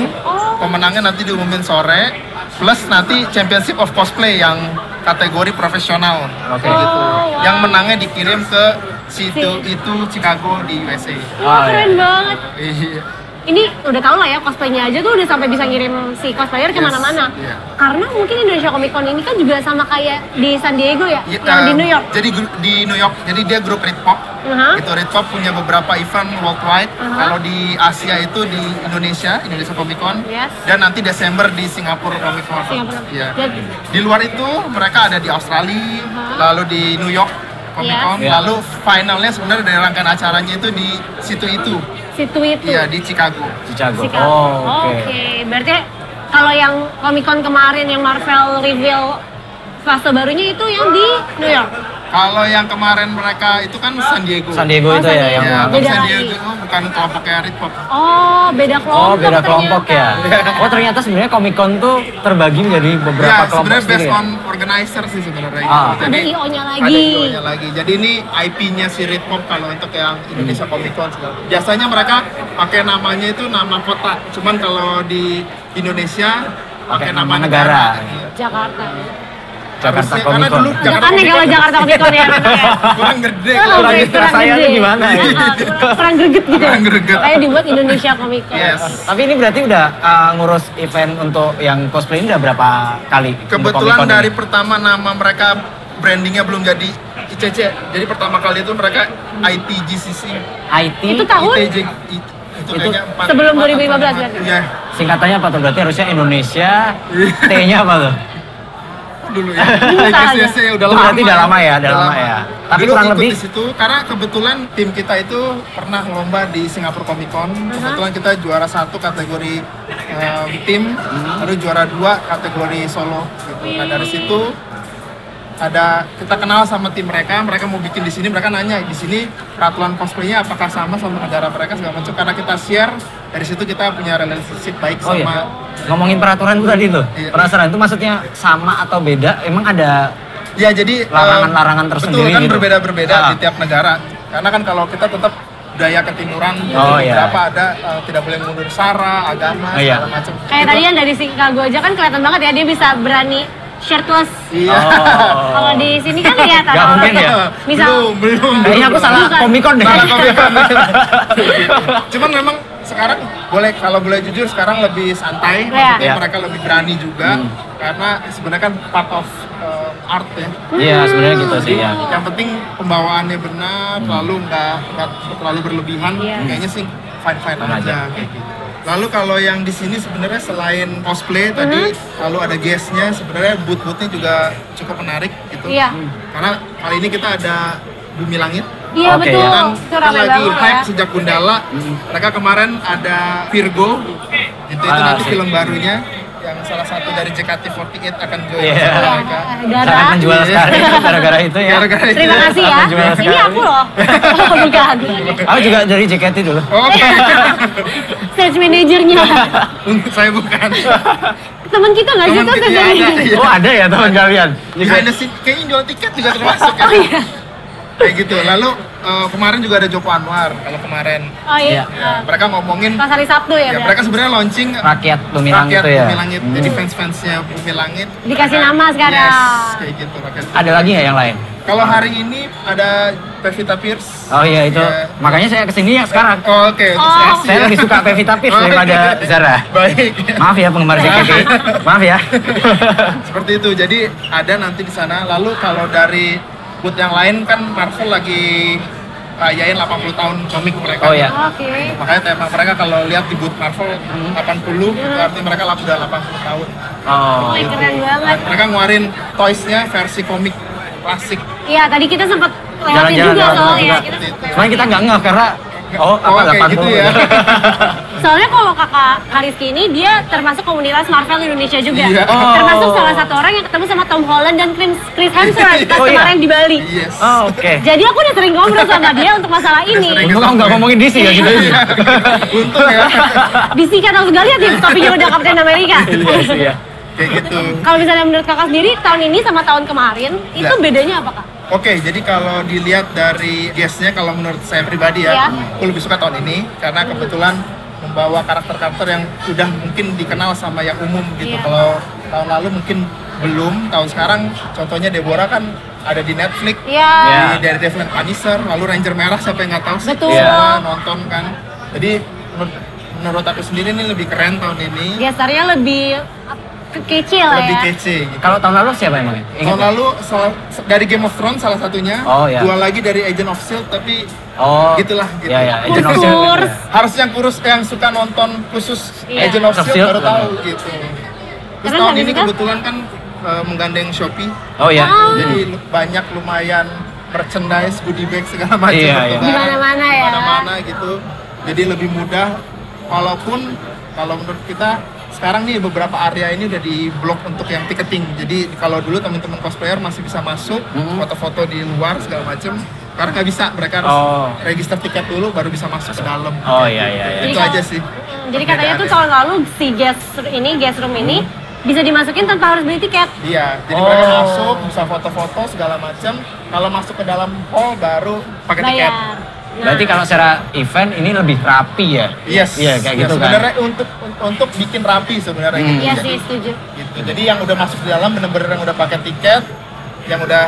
S2: Oh.
S9: pemenangnya nanti diumumin sore. Plus nanti championship of cosplay yang kategori profesional.
S5: Oke.
S9: gitu.
S2: Oh, wow.
S9: Yang menangnya dikirim ke situ
S2: Si-
S9: itu Chicago di USA.
S2: Wah,
S5: Oh,
S2: keren banget.
S9: Iya.
S2: ini udah tau lah ya cosplaynya aja tuh udah sampai bisa ngirim si cosplayer kemana-mana
S9: iya.
S2: karena mungkin Indonesia Comic Con ini kan juga sama kayak di San Diego ya,
S9: Iya,
S2: yang di
S9: um,
S2: New York
S9: Jadi gru- di New York, jadi dia grup Ritpop.
S2: Aha.
S9: Itu Ritpop punya beberapa event worldwide.
S2: Aha.
S9: Kalau di Asia itu di Indonesia, Indonesia Comic Con.
S2: Yes.
S9: Dan nanti Desember di Singapura Comic Con.
S2: Singapura.
S9: Iya.
S2: Dan-
S9: Di luar itu mereka ada di Australia, lalu di New York Comic Con,
S5: Yes.
S9: lalu finalnya sebenarnya dari rangkaian acaranya itu di situ itu,
S2: situ itu
S9: iya di Chicago.
S5: Chicago.
S2: Si Kang.
S5: Oh,
S2: oke
S5: oke.
S2: berarti kalau yang Comic Con kemarin yang Marvel reveal fase barunya itu yang di New York
S9: Kalau yang kemarin mereka itu kan San Diego.
S5: San Diego
S2: Oh,
S5: itu
S2: San
S5: ya
S2: Diego.
S5: yang
S9: Iya,
S2: Beda
S9: San
S2: lagi.
S9: Diego bukan kelompoknya Ritpop.
S2: oh beda kelompok
S5: Oh, beda kelompok ya.
S2: ternyata.
S5: Oh, ternyata sebenarnya Comic Con tuh terbagi menjadi beberapa
S9: Ya,
S5: kelompok
S9: sebenarnya
S5: sendiri.
S9: based
S5: ya?
S9: on organizer sih sebenarnya.
S5: Ah.
S9: Jadi,
S2: Ada IO-nya lagi.
S9: Ada IO-nya lagi. Jadi ini IP-nya si Ritpop kalau untuk yang Indonesia Comic Con segala. Biasanya mereka pakai namanya itu nama kota. Cuman kalau di Indonesia pakai
S5: Pakai
S9: nama
S5: nama
S9: negara.
S5: negara.
S9: Iya.
S2: Jakarta
S5: Jakarta
S9: Harusnya,
S5: Comic
S9: karena
S5: Con.
S9: dulu
S2: Jakarta
S9: Comic
S2: kalau
S9: Con
S2: Jakarta Comic Con ya
S9: kurang gede.
S2: Kurang
S5: Kurang
S2: gede,
S5: gitu rasanya
S2: gede.
S5: tuh gimana ya?
S2: Iya, kurang- Kurang greget gitu.
S9: Kurang greget.
S2: Kayak dibuat Indonesia Comic Con.
S9: Yes.
S5: Tapi ini berarti udah uh, ngurus event untuk yang cosplay ini udah berapa kali? untuk Comic
S9: Kebetulan
S5: Con ini?
S9: dari pertama nama mereka brandingnya belum jadi ICC. Jadi pertama kali itu mereka ITGCC.
S5: IT
S2: Itu kan- tahun
S9: ITJ itu, kayaknya empat-
S2: sebelum
S9: empat atau
S2: 2015
S9: lima.
S2: berarti?
S9: Iya.
S5: singkatannya apa tuh? Berarti harusnya Indonesia T-nya apa tuh?
S9: dulu ya.
S2: Bisa aja.
S9: SDSC udah
S5: Itu
S9: lama.
S5: berarti udah lama ya, udah lama ya. Tapi
S9: Dulu
S5: kurang
S9: ikut
S5: lebih-
S9: di situ karena kebetulan tim kita itu pernah lomba di Singapura Comic Con. Kebetulan kita juara satu kategori em, tim,
S5: Hmm.
S9: lalu juara dua kategori solo. Gitu. Nah dari situ ada kita kenal sama tim mereka, mereka mau bikin di sini, mereka nanya di sini peraturan cosplaynya apakah sama sama negara mereka segala macam. Karena kita share dari situ kita punya relationship baik
S5: Oh iya.
S9: sama
S5: Ngomongin peraturan itu tadi tuh.
S9: Iya.
S5: Penasaran itu maksudnya sama atau beda? Emang ada
S9: Ya jadi eh,
S5: Larangan-larangan
S9: Betul
S5: tersendiri
S9: kan
S5: gitu.
S9: berbeda-berbeda
S5: Ah.
S9: di tiap negara. Karena kan kalau kita tetap budaya ketimuran,
S5: Oh,
S9: jadi
S5: iya.
S9: beberapa ada eh, tidak boleh mundur sara, agama,
S5: Oh, iya.
S9: segala macam.
S2: Kayak tadi yang dari Singkago aja kan kelihatan banget ya dia bisa berani shirtless.
S9: Iya.
S3: Oh.
S2: Kalau di sini kan kelihatan.
S5: Nggak
S2: orang
S5: Oh, mungkin
S2: kayak-
S5: ya?
S2: Misal
S9: belum, belum.
S5: Kayaknya aku salah
S2: Bukan.
S5: komikon deh.
S9: Salah komitmen. Cuman memang sekarang boleh kalau boleh jujur sekarang lebih santai,
S2: Iya.
S9: maksudnya
S5: Iya. Hmm.
S9: mereka lebih berani juga karena sebenarnya kan part of eh, art ya.
S5: Iya, Hmm. sebenarnya gitu sih ya.
S9: Yang penting pembawaannya benar, lalu nggak nggak terlalu berlebihan,
S2: Iya.
S9: kayaknya sih fine fine
S5: Aman
S9: aja.
S5: aja.
S9: kayak gitu. Lalu kalau yang di sini sebenarnya selain cosplay
S2: Hmm.
S9: tadi, lalu ada guestnya, sebenarnya booth-boothnya juga cukup menarik gitu.
S2: Iya.
S9: Karena kali ini kita ada Bumi Langit,
S2: Iya
S5: Oke,
S2: betul.
S9: dan
S2: Itu
S9: kita ya.
S2: rame
S9: Kan lagi
S2: banget ya.
S9: hype sejak Gundala.
S5: Hmm.
S9: Mereka kemarin ada Virgo, itu itu
S5: Ah,
S9: nanti
S5: sih.
S9: film barunya yang salah satu dari JKT48 akan join sama
S5: Iya.
S2: Iya,
S9: mereka.
S2: Dara.
S3: kan
S5: Sangat menjual sekali gara-gara itu ya.
S9: Iya. Gara-gara itu.
S2: Iya. Terima kasih ya.
S5: Menjual
S2: Ini
S5: sekali.
S2: aku loh. Oh, Bukan.
S5: Aku juga dari JKT dulu.
S9: Oke.
S2: Stage manajernya.
S9: saya bukan
S2: Temen kita nggak sih
S9: Temen
S2: tuh
S9: kita
S2: stage
S9: ada,
S2: manager.
S9: iya.
S5: Oh ada ya teman kalian?
S9: behind the scene kayaknya jual tiket juga termasuk ya.
S2: Oh iya.
S9: kayak gitu lalu eh, kemarin juga ada Joko Anwar kalau kemarin Ya,
S2: Oh iya.
S5: Iya.
S9: mereka ngomongin
S2: Pas hari Sabtu
S9: ya
S2: ya. berarti?
S9: mereka sebenarnya launching
S5: Rakyat Bumilang
S9: rakyat
S5: itu ya.
S9: Bumi Langit jadi fans-fansnya Bumi Langit
S2: Dikasih
S9: Mereka-
S2: nama sekarang.
S9: yes kayak gitu rakyat
S5: Ada lagi ya yang lain?
S9: kalau hari ini ada Pevita Pierce
S5: Oh iya itu.
S9: Iya.
S5: Makanya saya kesini ya sekarang.
S9: Oh, iya. oke untuk
S2: Oh.
S9: saya-
S5: Saya lebih suka Pevita Pierce daripada Zara.
S9: baik
S5: Maaf ya penggemar JKT. Maaf ya.
S9: seperti itu jadi ada nanti di sana lalu kalau dari booth yang lain kan Marvel lagi rayain 80 tahun komik mereka
S5: Oh iya.
S2: Oke.
S9: makanya tema mereka kalau lihat di booth Marvel
S5: Hmm.
S9: 80 itu artinya mereka lah- udah 80 tahun
S5: Oh.
S2: Wih, keren banget.
S9: Dan mereka nguarin toysnya versi komik klasik
S2: Iya, tadi kita sempat lewatin
S5: Jalan-jalan,
S2: juga
S5: jalan-jalan
S2: soalnya.
S5: juga.
S2: Kita sempet
S5: Cuman kita nggak ngeh karena oh apa
S9: Oh, kayak
S5: 80
S9: gitu ya.
S2: Soalnya kalau kakak Kariski ini dia termasuk komunitas Marvel Indonesia juga.
S9: Iya.
S5: Oh.
S2: Termasuk salah satu orang yang ketemu sama Tom Holland dan Chris, Chris Hemsworth pas
S5: Oh, iya.
S2: kemarin di Bali.
S9: yes
S5: oh oke.
S2: Jadi aku udah sering ngobrol sama dia untuk masalah ini.
S5: Untung kamu nggak ngomongin DC ya
S9: Iya,
S5: gitu.
S9: untung ya
S2: Disi kan sekali ya tim topinya udah Captain America.
S5: Iya sih ya.
S9: kayak gitu
S2: kalau misalnya menurut kakak sendiri tahun ini sama tahun kemarin itu
S9: Iya.
S2: bedanya apa kak?
S9: Oke, jadi kalau dilihat dari guestnya, kalau menurut saya pribadi ya,
S2: Iya.
S9: aku lebih suka tahun ini karena kebetulan membawa karakter-karakter yang sudah mungkin dikenal sama yang umum gitu.
S2: Iya.
S9: Kalau tahun lalu mungkin belum, tahun sekarang contohnya Deborah kan ada di Netflix,
S2: Ya.
S5: Iya.
S9: di Daredevil and Punisher, lalu Ranger Merah siapa yang nggak tahu sih?
S2: Betul. Iya.
S9: Semua nonton kan. Jadi menur- menurut aku sendiri ini lebih keren tahun ini,
S2: Gesternya lebih ke- kecil lah
S9: lebih
S2: Iya, ya.
S9: kece gitu.
S5: Kalau tahun lalu siapa emang? Ingat
S9: Tahun
S5: nggak?
S9: lalu salah- dari Game of Thrones salah satunya,
S5: Oh, iya.
S9: dua lagi dari Agent of Shield E tapi
S5: Oh.
S9: gitulah, gitu.
S5: Ya ya. Agent of Shield.
S2: Kurs.
S9: harus yang kurus eh, yang suka nonton khusus
S2: Iya.
S9: Agent of
S5: Agent of
S9: Shield baru
S5: Shield,
S9: tahu gitu. Terus
S2: Karena
S9: tahun
S2: nggak
S9: ini
S2: bisa.
S9: kebetulan kan eh, menggandeng Shopee,
S5: Oh ya.
S9: jadi
S2: Hmm.
S9: lu- banyak lumayan merchandise, goodie bag segala macam
S5: Iya, iya.
S9: bertebaran,
S2: Di mana-mana ya.
S9: mana-mana gitu. Jadi lebih mudah walaupun kalau menurut kita sekarang nih beberapa area ini udah di blok untuk yang ticketing. Jadi kalau dulu teman-teman cosplayer masih bisa masuk
S5: Hmm.
S9: foto-foto di luar segala macam. Karena nggak bisa, mereka harus
S5: Oh.
S9: register tiket dulu baru bisa masuk ke dalam
S5: Oh iya iya iya.
S9: itu
S2: Jadi
S9: aja
S2: kalau-
S9: sih
S2: Hmm, Jadi katanya tuh
S9: Perbedaannya.
S2: tahun lalu si guest ini guest room ini bisa dimasukin tanpa harus beli tiket.
S9: iya jadi
S5: Oh.
S9: mereka masuk bisa foto-foto segala macam kalau masuk ke dalam hall baru pakai tiket
S2: Bayar. Nah,
S5: Berarti kalau secara event ini lebih rapi ya?
S9: yes
S5: Iya kayak
S9: Ya,
S5: gitu kan.
S9: sebenarnya untuk un- untuk bikin rapi sebenarnya
S5: Hmm.
S9: gitu.
S2: Iya
S9: Jadi-
S2: sih setuju.
S9: gitu jadi yang udah masuk di dalam bener-bener yang udah pakai tiket yang udah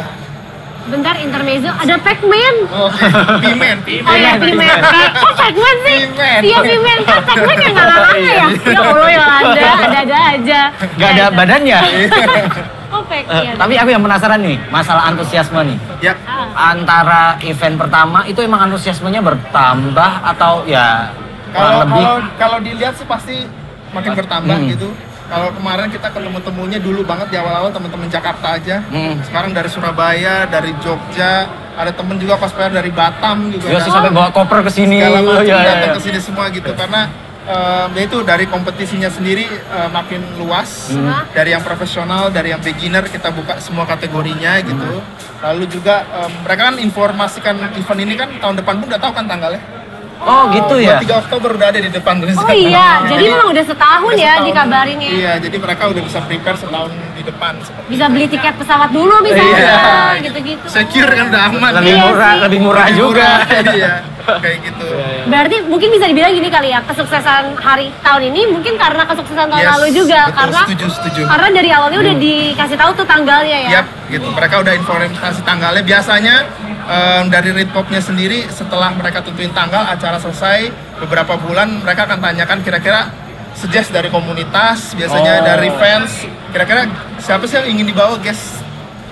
S2: Bentar intermezzo ada Pac-Man.
S9: oh, pimen
S2: Oh iya, Pimen. Kok Pac-Man sih?
S9: Pac-Man.
S2: Iya, Pimen. Kan Pac-Man yang gak lama ya? Ya Allah, Yolanda. Ada-ada aja.
S5: Gak ada badannya.
S9: Iya.
S2: Oh, Pac
S5: Eh,
S2: iya.
S5: tapi aku yang penasaran nih, masalah antusiasme nih.
S9: ya
S2: Ah.
S5: Antara event pertama itu emang antusiasmenya bertambah atau ya kurang
S9: kalau
S5: lebih?
S9: kalau kalau dilihat sih pasti makin bertambah
S5: Hmm.
S9: gitu Kalau kemarin kita ketemu temunya dulu banget di awal-awal teman-teman Jakarta aja.
S5: Hmm.
S9: Sekarang dari Surabaya, dari Jogja, ada temen juga cosplayer dari Batam juga.
S5: Yosi Iya, sampai bawa koper ke sini.
S9: segala macam
S5: Ya, ya,
S9: datang
S5: ya.
S9: ke sini semua gitu karena em, ya itu dari kompetisinya sendiri eh, makin luas
S5: Hmm.
S9: dari yang profesional dari yang beginner kita buka semua kategorinya gitu
S5: Hmm.
S9: lalu juga em, mereka kan informasikan event ini kan tahun depan pun udah tahu kan tanggalnya
S5: Oh gitu ya.
S9: 3 Oktober udah ada di depan tulisan.
S2: Oh iya, jadi memang udah setahun
S9: Udah
S2: ya
S9: setahun.
S2: dikabarin ya.
S9: iya jadi mereka udah bisa prepare setahun di depan seperti
S2: Bisa beli tiket pesawat dulu misalnya, gitu-gitu.
S9: secure kan udah aman
S5: Lebih
S2: Iya
S5: murah,
S2: sih.
S5: lebih murah juga.
S9: iya kayak gitu
S2: Berarti mungkin bisa dibilang gini kali ya, kesuksesan hari tahun ini mungkin karena kesuksesan tahun
S9: Yes,
S2: lalu juga
S9: betul,
S2: karena
S9: setuju, setuju. Hmm.
S2: karena dari awalnya udah dikasih tahu tuh tanggalnya ya.
S9: Yap, gitu. Mereka udah informasi tanggalnya. Biasanya em, dari Ritpopnya sendiri setelah mereka tentuin tanggal, acara selesai beberapa bulan mereka akan tanyakan kira-kira suggest dari komunitas, biasanya dari fans, kira-kira siapa sih yang ingin dibawa guys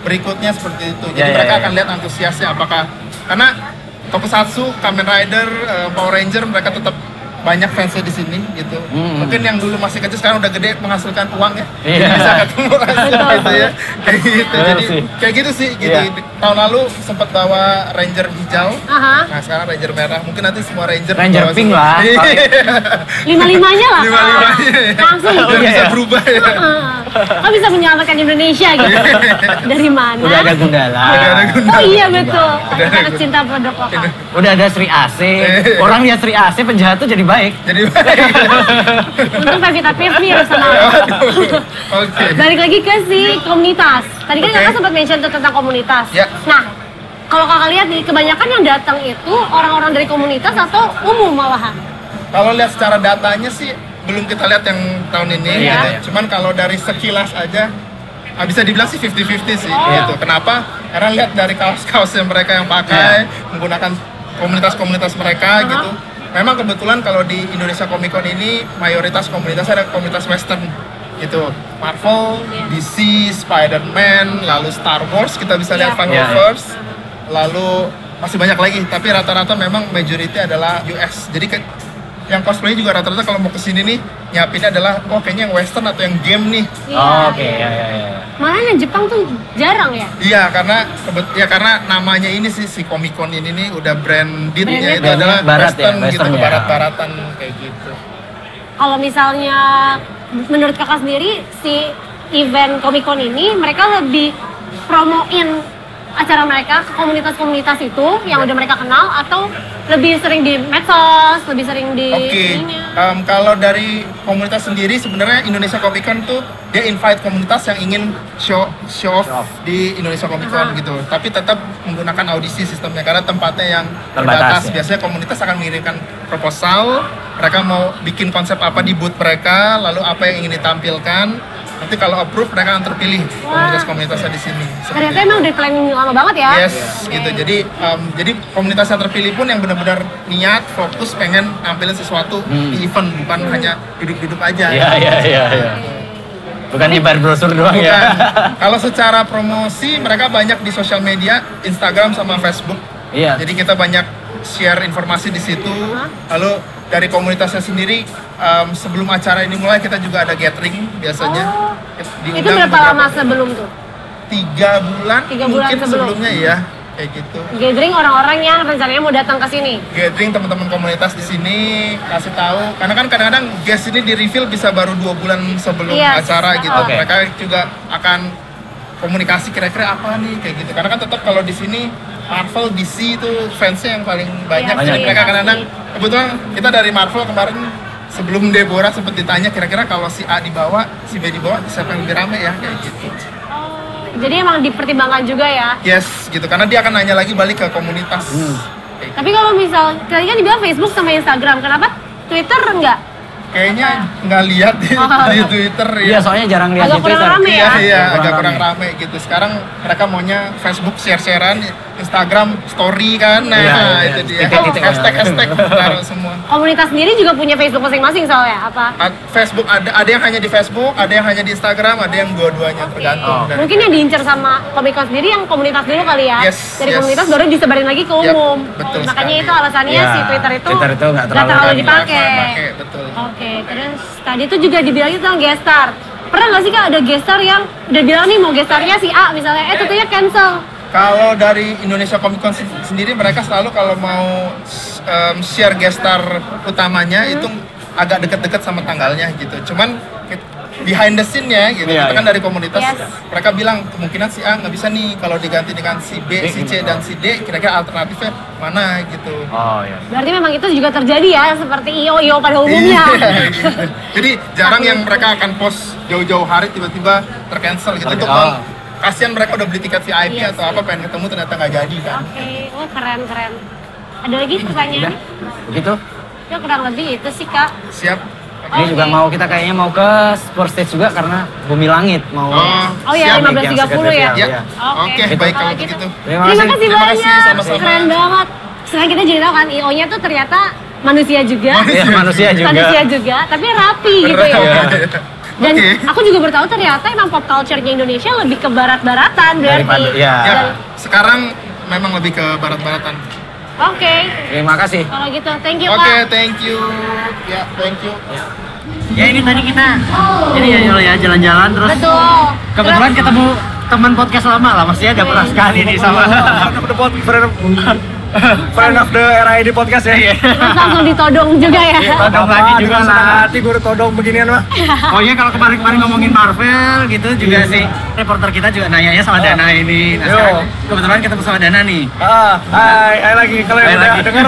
S9: berikutnya seperti itu. Jadi
S5: Ya, ya,
S9: mereka
S5: ya.
S9: akan lihat antusiasnya apakah karena Tokusatsu, Kamen Rider, eh, Power Ranger mereka tetap banyak fansnya di sini gitu. Mungkin yang dulu masih kecil sekarang udah gede menghasilkan uang ya. Jadi
S5: Iya.
S9: bisa ketemu langsung gitu ya. Kayak gitu.
S5: Benar
S9: Jadi
S5: sih.
S9: kayak gitu sih gitu.
S5: Iya.
S9: Tahun lalu sempat bawa Ranger hijau.
S2: Aha,
S9: Nah, sekarang Ranger merah. Mungkin nanti semua Ranger
S5: Ranger
S9: bawa
S5: pink
S9: semua.
S5: lah,
S9: Iya.
S2: lima-limanya lah. Ah,
S9: Lima-limanya, ya.
S2: Langsung Ah,
S9: Udah
S5: iya,
S9: bisa
S5: ya.
S9: berubah ya.
S2: Kok bisa menyelamatkan Indonesia gitu? Dari mana?
S5: Udah ada Gundala.
S9: Udah ada Gundala.
S2: Oh iya betul.
S9: Udah ada
S2: Kita
S9: Gundala.
S2: cinta produk lokal.
S5: Udah ada Sri AC.
S9: Eh.
S5: Orang lihat Sri AC penjahat tuh jadi baik.
S9: Jadi
S2: Untung Pevita Pevi harus sama.
S9: Oke.
S2: Balik lagi ke si komunitas. Tadi kan
S9: Iya. Oke.
S2: kakak sempat mention tuh tentang komunitas.
S9: Ya.
S2: Nah, kalau kakak lihat nih, kebanyakan yang datang itu orang-orang dari komunitas atau umum malahan?
S9: Kalau lihat secara datanya sih belum kita lihat yang tahun ini
S2: Iya.
S9: gitu ya. Cuman kalau dari sekilas aja ah, bisa dibilang sih 50-50 sih gitu. Kenapa? Karena lihat dari kaos-kaos yang mereka yang pakai menggunakan komunitas-komunitas mereka gitu. Memang kebetulan kalau di Indonesia Comic Con ini mayoritas komunitas ada komunitas western gitu. Marvel, DC, Spider-Man, lalu Star Wars kita bisa lihat Final
S5: Iya, iya.
S9: Wars, lalu masih banyak lagi tapi rata-rata memang majority adalah US jadi ke, yang cosplay juga rata-rata kalau mau kesini nih nyiapinnya adalah oh kayaknya yang western atau yang game nih
S2: Iya.
S5: Oke, ya ya ya.
S2: Malahan yang Jepang tuh jarang ya?
S9: iya karena kebet- ya karena namanya ini sih si Comic Con ini nih udah branded ya itu
S5: Branded.
S9: adalah
S5: Barat ya,
S9: western, gitu
S5: western ya.
S9: barat-baratan kayak gitu
S2: Kalau misalnya menurut kakak sendiri, si event Comic Con ini mereka lebih promoin acara mereka ke komunitas-komunitas itu yang
S9: Iya.
S2: udah mereka kenal atau lebih sering di medsos, lebih sering di
S9: Oke,
S2: ininya?
S9: em, kalau dari komunitas sendiri sebenarnya Indonesia Comic Con tuh dia invite komunitas yang ingin show show off di Indonesia Comic Con
S2: Aha.
S9: gitu, tapi tetap menggunakan audisi sistemnya karena tempatnya yang
S5: Terbatas,
S9: terbatas.
S5: ya.
S9: Biasanya komunitas akan mengirimkan proposal, mereka mau bikin konsep apa di booth mereka, lalu apa yang ingin ditampilkan. Nanti kalau approve mereka akan terpilih komunitas-komunitasnya di sini. Seperti
S2: Ternyata emang udah planning lama banget ya?
S9: Yes, gitu. Jadi um, jadi komunitas yang terpilih pun yang benar-benar niat, fokus, pengen nampilin sesuatu di event, bukan
S2: Hmm.
S9: hanya duduk-duduk aja.
S3: Iya,
S5: Ya ya ya ya. Bukan nyebar brosur doang
S3: Iya.
S9: Bukan.
S5: ya.
S9: Kalau secara promosi mereka banyak di sosial media, Instagram sama Facebook.
S5: Iya.
S9: Jadi kita banyak share informasi di situ. Lalu dari komunitasnya sendiri um, sebelum acara ini mulai kita juga ada gathering biasanya.
S2: Oh. Itu
S9: Diundang
S2: berapa
S9: beberapa-
S2: lama sebelum tuh?
S9: Tiga bulan,
S2: Tiga bulan
S9: mungkin
S2: sebelum.
S9: sebelumnya ya kayak gitu.
S2: Gathering orang-orang yang rencananya mau datang ke sini.
S9: gathering teman-teman komunitas di sini kasih tahu karena kan kadang-kadang guest ini di reveal bisa baru dua bulan sebelum
S2: Iya.
S9: acara gitu
S5: Oke.
S9: mereka juga akan komunikasi kira-kira apa nih kayak gitu karena kan tetap kalau di sini Marvel DC itu fansnya yang paling banyak
S2: Iya,
S9: jadi
S5: banyak.
S9: mereka kadang-kadang kebetulan kita dari Marvel kemarin sebelum Deborah sempat ditanya kira-kira kalau si A dibawa si B dibawa siapa yang lebih rame ya kayak gitu
S2: Jadi emang dipertimbangkan juga ya.
S9: yes gitu karena dia akan nanya lagi balik ke komunitas
S5: Hmm.
S9: Kayak
S2: Tapi kalau misal, tadi kan dibilang Facebook sama Instagram, kenapa Twitter enggak?
S9: kayaknya nggak lihat di,
S2: Oh.
S9: di Twitter ya.
S5: Iya, soalnya jarang lihat
S2: Agak
S5: di Twitter.
S2: kurang rame ya?
S9: Iya, iya,
S5: Kurang
S9: agak kurang
S5: rame.
S9: rame gitu. Sekarang mereka maunya Facebook share-sharean, Instagram story kan nah
S5: Iya, iya.
S9: itu dia
S5: Titik-titik.
S9: hashtag hashtag taruh semua
S2: Komunitas sendiri juga punya Facebook masing-masing soalnya apa?
S9: A- Facebook ada ada yang hanya di Facebook ada yang hanya di Instagram ada yang dua-duanya tergantung
S5: Oh.
S9: dari-
S2: Mungkin yang diincar sama komika sendiri yang komunitas dulu kali ya.
S9: Yes, yes.
S2: Dari komunitas baru disebarin lagi ke
S9: Yap,
S2: umum.
S9: betul
S2: Makanya
S9: sekali.
S2: itu alasannya
S5: Iya,
S2: si Twitter itu
S5: Twitter itu nggak terlalu
S9: Kan,
S2: dipakai.
S9: pakai, betul
S2: Oke, terus tadi tuh juga dibilangin tentang gestar. Pernah nggak sih kak ada gestar yang udah bilang nih mau gestarnya si A misalnya, eh tentunya cancel.
S9: Kalau dari Indonesia Comic Con se- sendiri mereka selalu kalau mau s- em, share gestar utamanya
S2: Hmm.
S9: itu agak deket-deket sama tanggalnya gitu. Cuman it- behind the scene-nya gitu. Itu
S5: Iya,
S9: kan
S5: iya.
S9: dari komunitas
S2: Yes.
S9: mereka bilang kemungkinan si A nggak bisa nih kalau diganti dengan si B, si
S5: gitu.
S9: C dan si D kira-kira alternatifnya mana gitu.
S5: Oh iya.
S2: Berarti memang itu juga terjadi ya seperti io io pada umumnya.
S9: Iya, gitu. Jadi jarang yang mereka akan post jauh-jauh hari tiba-tiba tercancel gitu. Itu
S5: Ah.
S9: kan kasihan mereka udah beli tiket VIP
S2: Iya
S9: atau apa pengen ketemu ternyata nggak jadi kan.
S2: Oke, oh keren keren. Ada lagi pertanyaan?
S5: Begitu.
S2: Ya kurang lebih itu sih kak.
S9: Siap.
S5: Ini juga
S2: Oke.
S5: mau kita kayaknya mau ke sport stage juga karena Bumi Langit mau.
S9: Oh,
S2: Oh iya,
S9: siap.
S2: 15.30 ya.
S9: Ya.
S5: Iya.
S9: Oke, baik kalau begitu.
S5: Terima
S2: Terima
S5: kasih.
S2: kasih,
S9: Terima
S2: banyak.
S9: kasih, sama-sama.
S2: Keren banget. Sekarang kita jadi tahu kan IO-nya tuh ternyata manusia juga.
S5: Iya, manusia juga.
S2: Manusia juga, tapi rapi gitu ya.
S9: Iya.
S2: Dan
S9: Oke. Ya,
S2: aku juga bertahu ternyata emang pop culture-nya Indonesia lebih ke barat-baratan berarti.
S5: Daripada- iya.
S9: Ya,
S2: Dan-
S9: sekarang memang lebih ke barat-baratan.
S2: Oke,
S5: Terima kasih.
S2: kalau gitu thank you
S9: Oke,
S2: Pak.
S9: thank you. Ya, thank you.
S4: Ya ini tadi kita ini ya Yul, ya jalan-jalan terus
S2: Betul.
S4: kebetulan ketemu teman podcast lama lah maksudnya ada pernah sekali nih sama friend of the pod friend of,
S2: Oh.
S4: friend of the RID podcast ya.
S2: Terus langsung ditodong juga ya.
S5: Iya,
S4: Todong lagi juga lah.
S5: gue todong beginian mah.
S4: Oh iya kalau kemarin-kemarin ngomongin Marvel gitu
S5: Iya.
S4: juga sih reporter kita juga nanyanya sama Dana ini. Nah, sekarang kebetulan ketemu sama Dana nih.
S5: Ah, hai, hai lagi. Kalau
S4: Hai
S5: yang udah
S4: lagi.
S5: denger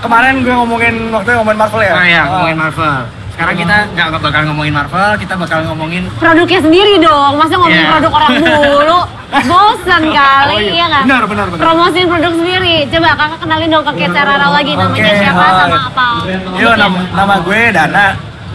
S5: kemarin gue ngomongin waktu itu ngomongin Marvel ya. Ah.
S4: Oh iya ngomongin Marvel. Sekarang kita nggak bakal ngomongin Marvel, kita bakal ngomongin
S2: Produknya sendiri dong, masa ngomongin
S4: Iya.
S2: produk orang mulu? Bosan kali, iya nggak?
S5: Oh, Benar, benar, benar.
S2: Promosiin produk sendiri. Coba kakak kenalin dong ke Kecerara lagi namanya
S5: Oke,
S2: siapa
S5: hai.
S2: sama apa?
S5: Yo, nama, nama gue Dana.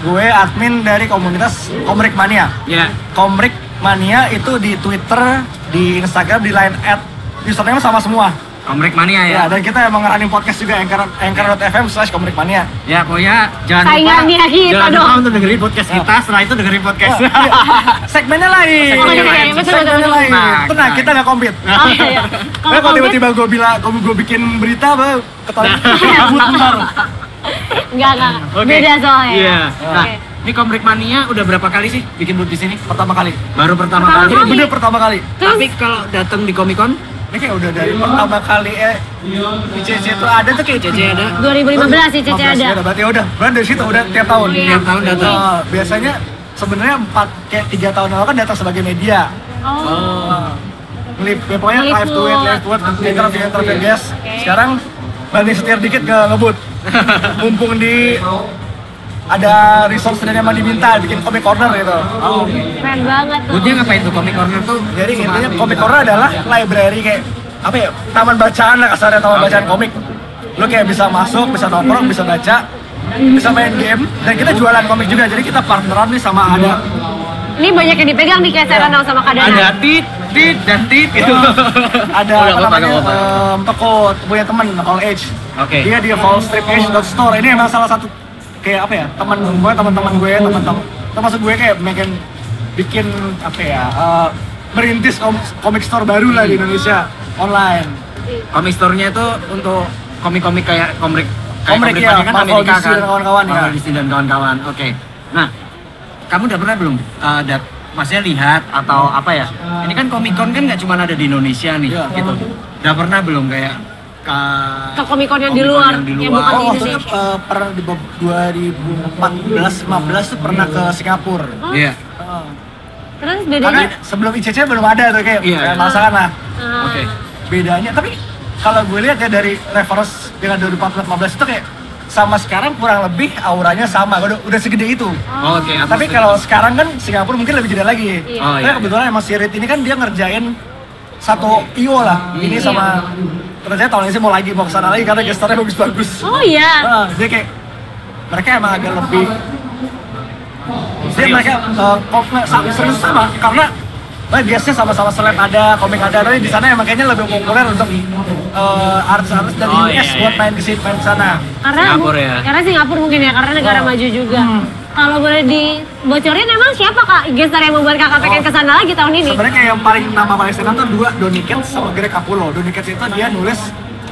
S5: Gue admin dari komunitas Komrik Mania.
S4: ya
S5: Komrik Mania itu di Twitter, di Instagram, di line at username sama semua.
S4: Komrek Mania
S5: Ya,
S4: ya.
S5: dan kita emang running podcast juga anchor anchor.fm slash Komrik Mania.
S4: Ya pokoknya jangan
S2: Saingannya
S4: lupa,
S5: Iya,
S2: kita
S4: jangan
S2: dong.
S4: lupa untuk dengerin podcast kita, setelah itu dengerin podcast.
S5: iya. Segmennya lain.
S2: Oh, iya, iya, betul, betul,
S5: Segmennya
S2: betul.
S5: lain.
S4: Nah,
S5: Tenang, kita nggak kompet.
S2: Oh, iya.
S5: Nah, kalau
S2: komplit,
S5: tiba-tiba gue bilang, gue gue bikin berita, bah, ketahuan
S4: Nah.
S5: kabut ntar.
S2: Enggak, enggak.
S4: Oke.
S2: Beda soalnya.
S4: Iya. Nah,
S2: Oke.
S4: ini Komrek Mania udah berapa kali sih bikin booth di sini?
S5: Pertama kali.
S4: Baru pertama
S2: Pertama
S4: kali.
S5: Ini bener pertama kali.
S4: Tapi kalau datang di Comic Con,
S5: Ini kayak udah dari pertama kali eh di CC itu ada tuh kayak
S4: CC ada
S2: 2015 sih Cece
S5: 15
S2: ada.
S5: Berarti ya udah, berarti dari situ udah tiap tahun.
S2: Iya.
S4: tiap tahun datang.
S5: Nah, biasanya sebenarnya empat kayak tiga tahun lalu kan datang sebagai media.
S2: Oh,
S5: Ngelip, ya, pokoknya live to it, live to it, interview, interview guys. Sekarang banding setir dikit ke ngebut. Mumpung di ada resource dari yang emang diminta bikin comic corner gitu.
S2: keren banget tuh.
S4: Boothnya ngapain tuh Comic Corner tuh?
S5: Jadi intinya comic corner adalah library kayak apa ya taman bacaan lah kasarnya taman bacaan komik. Lo kayak bisa masuk, bisa nongkrong, bisa baca, bisa main game dan kita jualan komik juga. Jadi kita partneran nih sama ada
S4: Hmm.
S2: Ini banyak yang dipegang di Kecerara dong sama Kadana.
S4: Ada tit, tit, dan tit gitu.
S5: ada
S4: Oh, nggak
S5: apa
S4: apa-apa,
S5: namanya
S4: nggak apa-apa.
S5: em, toko punya teman all age.
S4: Oke.
S5: Dia di Fall Street Age Store. Ini emang salah satu kayak apa ya teman gue, teman-teman gue, teman-teman termasuk gue kayak bikin bikin apa ya eh, merintis kom- komik store baru lah di Indonesia online.
S4: Comic Store-nya itu untuk komik-komik kayak Komrek
S5: Komrek,
S4: Komrek
S5: iya.
S4: Mania kan
S5: Marvel
S4: Amerika
S5: DC dan kawan-kawan, ya.
S4: Marvel DC dan kawan-kawan. Oke. Nah, kamu udah pernah belum eh, dat- maksudnya lihat atau apa ya? Ini kan Comic Con kan nggak cuma ada di Indonesia nih,
S3: Ya,
S5: Iya.
S4: gitu. Udah pernah belum kayak ke
S2: Ke Comic-Con yang di
S4: Comic-Con
S2: luar,
S4: yang di
S2: yang
S4: luar.
S2: bukan di
S5: Oh, waktu itu
S2: Indonesia.
S5: eh, pernah di bab- 2014 15 tuh pernah ke Singapura.
S2: Oh,
S4: Iya.
S2: Terus bedanya?
S5: Karena sebelum ICC belum ada tuh kayak
S4: Iya.
S5: yeah. masakan lah
S2: Ah,
S4: Oke.
S5: bedanya. Tapi kalau gue lihat ya dari reference dengan 2014 15 itu kayak sama sekarang kurang lebih auranya sama udah, udah segede itu.
S4: Oh, Oke, apa
S5: Tapi
S4: sih?
S5: kalau sekarang kan Singapura mungkin lebih gede lagi.
S2: Iya.
S4: Oh,
S5: Karena
S4: iya,
S5: kebetulan emang si Reed ini kan dia ngerjain satu IO lah.
S2: Iya.
S5: Ini sama ternyata tahun ini sih mau lagi mau kesana lagi karena gestarnya bagus-bagus.
S2: Oh iya.
S5: Ah, dia kayak mereka emang agak lebih dia mereka eh, kok nggak sama serius sama karena Nah, biasanya sama-sama seleb ada, komik ada, tapi di sana emang kayaknya lebih populer untuk eh, artis-artis dari US
S3: Oh, iya, iya.
S5: buat main ke sini, main ke sana.
S2: Karena
S3: Singapura ya?
S2: Karena Singapura mungkin ya, karena negara maju juga. Kalau boleh dibocorin emang siapa kak gestar yang membuat kakak pengen kesana lagi tahun ini?
S5: Sebenarnya kayak yang paling nama paling senang tuh dua Donny Cates sama Greg Capullo. Donny Cates itu dia nulis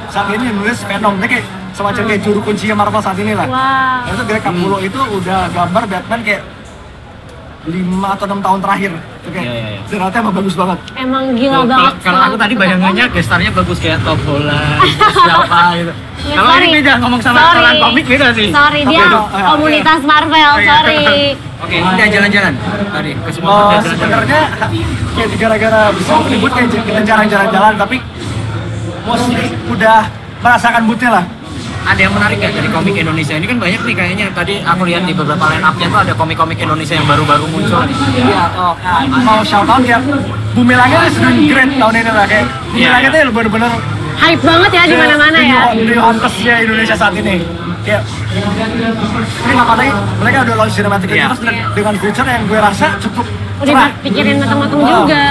S5: saat ini nulis Venom. Dia kayak semacam kayak juru kuncinya Marvel saat ini lah.
S2: Wow.
S5: Dan itu Greg Capullo itu udah gambar Batman kayak 5 atau 6 tahun terakhir. Itu kayak
S3: Iya, iya, iya.
S5: dan ternyata emang bagus banget.
S2: Emang gila banget.
S3: Kalau aku tadi bayangannya gestarnya bagus kayak top bola, siapa gitu.
S2: Ya,
S3: Kalau
S2: sorry.
S3: ini beda ngomong sama
S2: Sorry.
S3: orang komik beda sih.
S2: Sorry dia
S5: Tapi itu-
S2: komunitas Marvel, sorry.
S3: Oke, udah jalan-jalan tadi ke semua
S5: Oh,
S3: udah jalan-jalan.
S5: sebenarnya kayak di gara-gara bisa ribut kayak j- kita jarang jalan-jalan tapi mostly udah merasakan bootnya lah.
S3: ada yang menarik nggak dari komik Indonesia ini kan banyak nih kayaknya tadi aku lihat di beberapa line up-nya tuh ada komik-komik Indonesia yang baru-baru muncul nih.
S5: Iya, oh, mau shout out ya. Bumelangnya sudah grand tahun ini lah kayak.
S3: Iya,
S5: Bumelangnya tuh bener-bener
S2: Hype banget ya di mana-mana ya.
S3: Iya.
S5: New Hunters-nya Indonesia saat ini. Kayak ini ngapain lagi? Mereka udah launch cinematic
S3: Iya.
S5: universe dengan- dengan feature yang gue rasa cukup
S2: Udah
S5: cerah.
S2: pikirin matang-matang
S5: Wow.
S2: juga.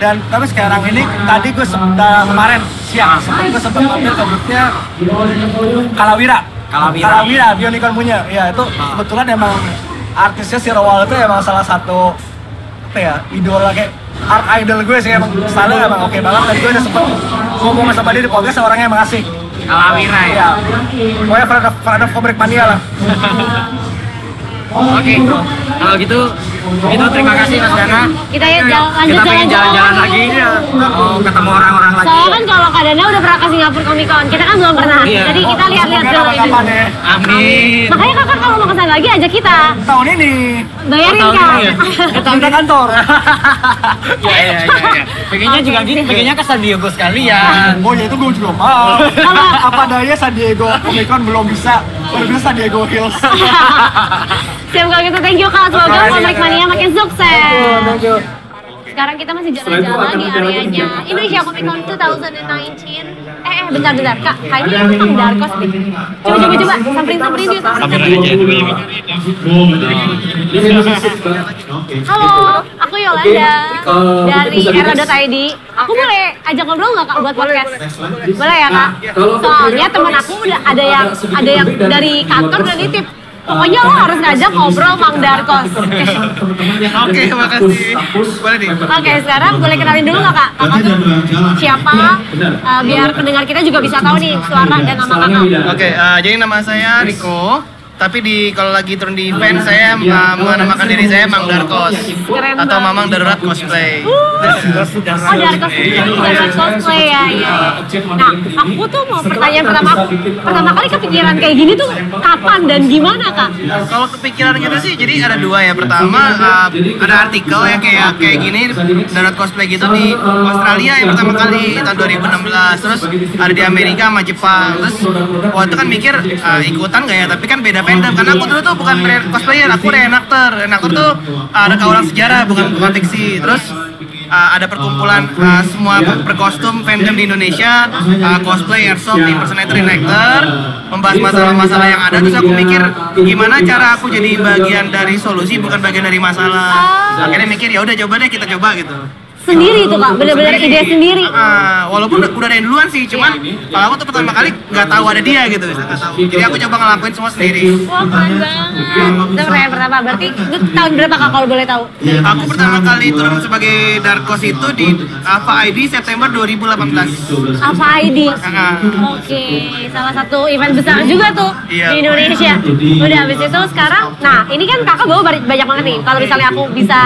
S5: Dan tapi sekarang ini tadi gue sempat kemarin siang sempat gue sempat mampir ke boothnya Kalawira.
S3: Kalawira. Ah.
S5: Kalawira, Bionicorn punya. Ya itu kebetulan emang artisnya si Rowal itu emang salah satu apa ya idola kayak art idol gue sih emang style emang oke banget dan gue udah sempet ngomong sama dia di podcast orangnya emang asik
S3: Kalawira ya.
S5: Iya. Pokoknya Friend of, Friend of Comic Mania lah.
S3: Oke, kalau gitu itu terima kasih Mas Dana.
S2: Kita
S3: Eh,
S2: ya jalan- lanjut
S3: Iya, Kita pengen jalan-jalan
S2: jalan-jalan
S3: lagi. Oh, ketemu orang-orang lagi.
S2: Soalnya kan kalau Kak Dana udah pernah ke Singapura Comic Con, kita kan belum pernah.
S3: Iya.
S2: Jadi kita lihat-lihat
S5: Semoga
S2: dulu ini.
S5: kapan-kapan ya.
S3: Amin.
S2: Makanya kakak kalau mau kesana lagi ajak kita.
S5: Tahun ini
S2: Bayarin
S3: Oh, tahun
S2: kak.
S3: ini ya?
S5: kita kantor.
S3: Iya, iya, iya, iya. Pengennya juga gitu, pengennya ke San Diego sekalian.
S5: Oh ya itu gue juga mau.
S2: Iya,
S5: Apa daya San Diego Comic Con belum bisa, baru bisa San Diego Hills.
S2: Siap kalau gitu, thank you kak. Semoga Komik Mania makin sukses. Sekarang kita masih jalan-jalan di areanya Indonesia Comic Con 2019. Eh, eh, bentar, bentar. Kak, kayaknya itu Kang Darkos deh. Coba, coba, coba. Samperin-samperin dia. samperin.
S10: aja dulu
S2: Halo, aku Yolanda dari era.id. Aku boleh ajak ngobrol nggak kak buat podcast? Boleh ya kak? Soalnya teman aku udah ada yang ada yang dari eh, kantor udah nitip. Pokoknya lo harus ngajak ngobrol Mang Darkos.
S10: Oke, makasih. Boleh nih.
S2: Oke, sekarang boleh kenalin dulu nggak kak? Kakak tuh siapa? Eh, biar pendengar kita juga bisa tahu nih suara dan nama kakak.
S10: Oke, eh, jadi nama saya Riko. Tapi di kalau lagi turun di event saya eh,
S3: Iya.
S10: menamakan diri saya Mang Darkos
S2: Keren
S10: atau Mamang Darurat Cosplay.
S2: Oh, Darkos itu jalan cosplay ya, ya, ya. Nah, aku tuh mau pertanyaan pertama aku, pertama kali kepikiran kayak gini tuh kapan dan gimana kak?
S10: Kalau kepikiran gitu sih, jadi ada dua ya. Pertama eh, ada artikel ya kayak kayak gini darurat cosplay gitu di Australia yang pertama kali tahun 2016. Terus ada di Amerika sama Jepang. Terus uh, waktu itu kan mikir eh, ikutan nggak ya? Tapi kan beda fandom. Karena aku dulu tuh bukan re- cosplayer, aku reenactor. Reenactor tuh eh, rekaulang sejarah bukan bukan fiksi. Terus eh, ada perkumpulan eh, semua perkostum fandom di Indonesia eh, cosplay airsoft impersonator reenactor membahas masalah-masalah yang ada terus aku mikir gimana cara aku jadi bagian dari solusi bukan bagian dari masalah
S2: Ah.
S10: akhirnya mikir ya udah coba deh kita coba gitu
S2: Sendiri tuh kak, bener-bener ide sendiri.
S10: Ah, walaupun udah ada yang duluan sih cuman kalau aku tuh pertama kali nggak tahu ada dia gitu nggak tahu. jadi aku coba ngelakuin semua sendiri
S2: Wah keren banget. Itu pertanyaan pertama. Berarti itu tahun berapa kak kalau boleh tahu?
S10: aku pertama kali turun sebagai Darkos itu di Alpha ID September 2018
S2: Apa ID?
S10: Ah.
S2: Oke, salah satu event besar juga tuh
S10: Iya.
S2: di Indonesia. Udah habis itu sekarang, nah ini kan kakak bawa bari- banyak banget nih. Kalau misalnya aku bisa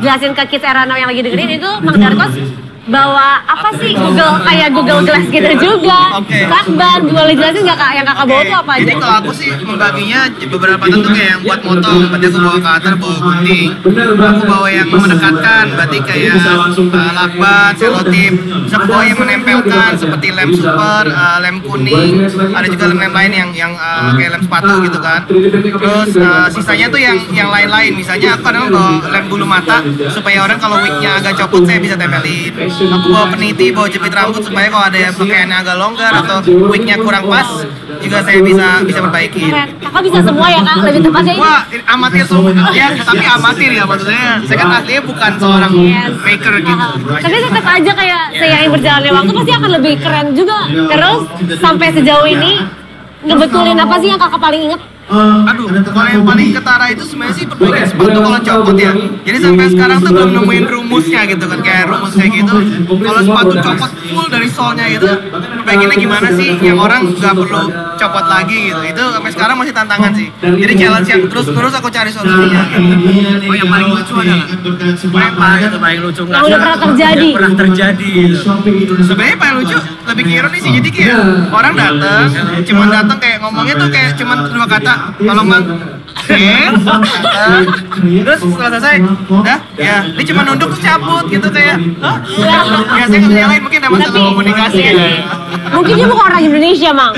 S2: jelasin ke kids era now yang lagi dengerin itu, Mang Darkos bawa apa sih Google kayak Google Glass gitu juga,
S10: Oke.
S2: Lakban, boleh jelasin nggak kak yang kakak bawa tuh apa aja?
S10: Jadi kalau aku sih membaginya beberapa tentu kayak yang buat motor, berarti aku bawa kater, bawa gunting. Aku bawa yang mendekatkan, berarti kayak uh, lakban, selotip. Bisa aku bawa yang menempelkan, seperti lem super, uh, lem kuning. Ada juga lem-lem lain yang yang uh, kayak lem sepatu gitu kan. Terus uh, sisanya tuh yang yang lain-lain. Misalnya aku kadang bawa lem bulu mata supaya orang kalau wignya agak copot saya bisa tempelin. aku bawa peniti, bawa jepit rambut supaya kalau ada yang pakaiannya agak longgar atau wignya kurang pas juga saya bisa bisa perbaiki.
S2: Keren. Kakak bisa semua ya kak, lebih tepatnya ini.
S10: Wah, ini amatir semua ya, tapi amatir ya maksudnya. Saya kan aslinya bukan seorang
S2: Yes.
S10: maker gitu.
S2: Ah, Tapi tetap aja kayak
S10: Ya.
S2: seiring berjalannya waktu pasti akan lebih keren juga. Terus sampai sejauh
S10: ya.
S2: ini ngebetulin apa sih yang kakak paling inget?
S10: Aduh, kalau yang paling ketara itu sebenarnya sih perbaikan sepatu kalau copot ya. Jadi sampai sekarang tuh belum nemuin rumusnya gitu kan kayak rumus kayak gitu. Kalau sepatu copot full dari solnya gitu, perbaikinnya gimana sih yang orang nggak perlu copot lagi gitu. Itu sampai sekarang masih tantangan sih. Jadi challenge yang terus-terus aku cari solusinya. Gitu.
S3: Oh yang paling lucu adalah yang paling itu paling lucu nggak
S2: Yang udah
S3: sih?
S2: pernah terjadi.
S3: Yang pernah terjadi. gitu.
S10: sebenarnya paling lucu lebih ke ironi sih jadi kayak orang datang cuman datang kayak ngomongnya tuh kayak cuman dua kata tolong bang Eh, eh. terus setelah selesai, dah, ya, dia cuma nunduk terus cabut gitu kayak, oh, ya saya nggak lain mungkin ada masalah komunikasi. ya.
S2: Iya. Mungkin dia bukan orang Indonesia, Mang.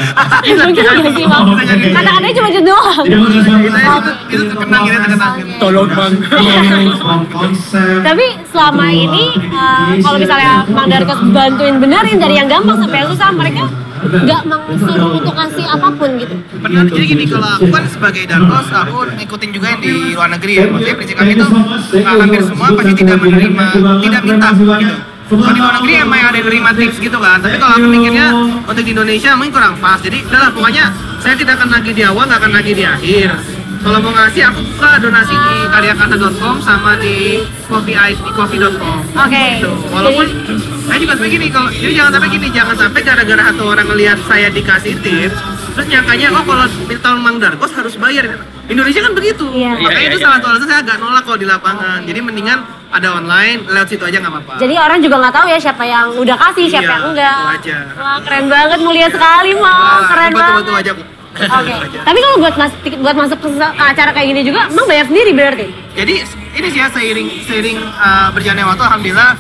S10: Iya,
S2: Mungkin dia sih, Mang. Kata-katanya cuma itu doang.
S3: Iya,
S10: Itu, itu gitu, terkenang, itu terkenang.
S3: Tolong bang. Iya,
S2: Tapi selama
S10: Iya.
S2: ini eh, kalau misalnya Mang Darkos bantuin benerin dari yang gampang sampai yang susah, mereka nggak mengsuruh untuk ngasih apapun gitu.
S10: Benar, jadi gini kalau
S3: Iya.
S10: aku kan sebagai darkos, aku ngikutin juga yang di luar negeri ya. Maksudnya prinsip kami itu ah, hampir semua pasti tidak menerima, tidak minta gitu. Kalau di luar negeri emang ada yang nerima tips gitu kan, tapi kalau aku mikirnya untuk di Indonesia mungkin kurang pas. Jadi udahlah pokoknya saya tidak akan nagih di awal, nggak akan nagih di akhir. Kalau mau ngasih aku buka donasi di karyakata.com sama di coffee i- di coffee.com.
S2: Oke.
S10: Gitu. Walaupun saya juga sampai gini kalau jadi jangan sampai gini, jangan sampai gara-gara satu orang ngelihat saya dikasih tips terus nyangkanya oh kalau minta Mang Darkos harus bayar. Indonesia kan begitu.
S2: Iya.
S10: Makanya
S6: Iya,
S10: itu
S6: iya,
S10: salah satu alasan saya agak nolak kalau di lapangan. Jadi mendingan ada online, lewat situ aja nggak apa-apa.
S2: Jadi orang juga nggak tahu ya siapa yang udah kasih,
S10: Iya,
S2: siapa yang enggak.
S10: itu aja.
S2: Wah keren banget, mulia sekali
S10: Ah,
S2: Mang. oh, Keren
S10: ini
S2: banget.
S10: batu-batu aja kok.
S2: Oke. Tapi kalau buat mas, buat masuk ke, ke acara kayak gini juga, Mang bayar sendiri berarti.
S10: Jadi ini sih ya seiring seiring uh, berjalannya waktu alhamdulillah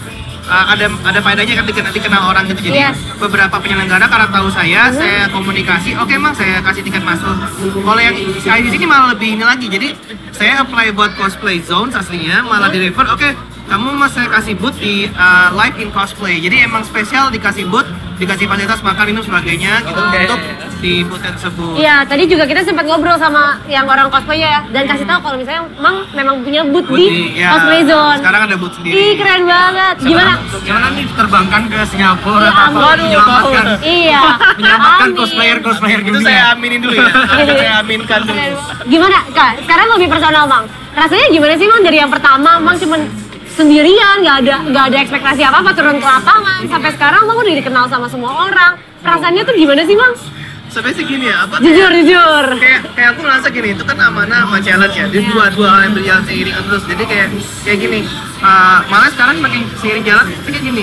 S10: uh, ada ada faedahnya kan dikenal, dikenal orang gitu. Jadi
S2: Yes. Mm-hmm.
S10: beberapa penyelenggara karena tahu saya, saya komunikasi, oke mang saya kasih tiket masuk. Kalau yang saya di sini malah lebih ini lagi. Jadi saya apply buat cosplay zone aslinya malah
S2: Mm-hmm.
S10: di refer, oke kamu mas saya kasih booth di uh, live in cosplay. Jadi emang spesial dikasih booth, dikasih fasilitas makan minum sebagainya gitu untuk di booth tersebut.
S2: Iya, tadi juga kita sempat ngobrol sama yang orang cosplay ya dan kasih
S3: Hmm.
S2: tahu kalau misalnya Mang memang punya booth
S10: Booth
S2: di
S10: ya,
S3: iya.
S2: cosplay zone.
S10: Sekarang ada booth sendiri.
S2: Ih keren banget. Gimana?
S3: Jangan nih terbangkan ke Singapura
S2: Ya
S3: atau
S2: ampun.
S3: menyelamatkan
S2: Iya.
S3: menyelamatkan
S2: Amin.
S3: cosplayer cosplayer
S10: Itu
S3: dunia.
S10: saya aminin dulu ya. saya aminkan dulu.
S2: Keren. Gimana? Kak, sekarang lebih personal Bang. Rasanya gimana sih Mang dari yang pertama Mang cuman sendirian, nggak ada nggak ada ekspektasi apa apa turun ke lapangan sampai sekarang Mang udah dikenal sama semua orang. Perasaannya tuh gimana sih Mang?
S10: Sampai segini ya, apa
S2: Jujur jujur.
S10: kayak kayak aku ngerasa gini itu kan amanah sama challenge ya jadi dua dua hal yang berjalan seiringan terus jadi kayak kayak gini uh, malah sekarang makin seiring jalan kayak gini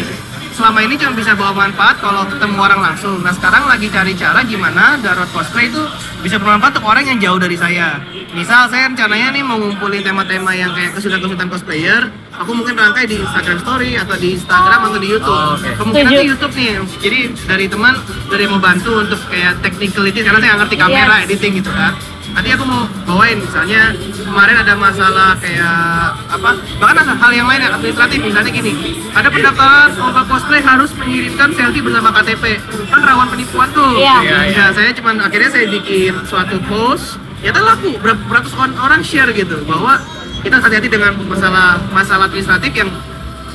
S10: selama ini cuma bisa bawa manfaat kalau ketemu orang langsung nah sekarang lagi cari cara gimana Darut cosplay itu bisa bermanfaat untuk orang yang jauh dari saya misal saya rencananya nih mau ngumpulin tema-tema yang kayak kesulitan-kesulitan cosplayer aku mungkin rangkai di Instagram Story atau di Instagram atau di YouTube kemungkinan
S2: Setuju.
S10: di YouTube nih jadi dari teman dari yang mau bantu untuk kayak technicality karena saya nggak ngerti kamera
S2: Yes.
S10: editing gitu kan nanti aku mau bawain misalnya kemarin ada masalah kayak apa bahkan ada hal yang lain yang administratif misalnya gini ada pendaftaran lomba cosplay harus mengirimkan selfie bersama KTP kan rawan penipuan tuh
S2: Iya.
S10: Iya, iya. saya cuman akhirnya saya bikin suatu post ya kan laku ber- beratus on- orang share gitu bahwa kita harus hati-hati dengan masalah masalah administratif yang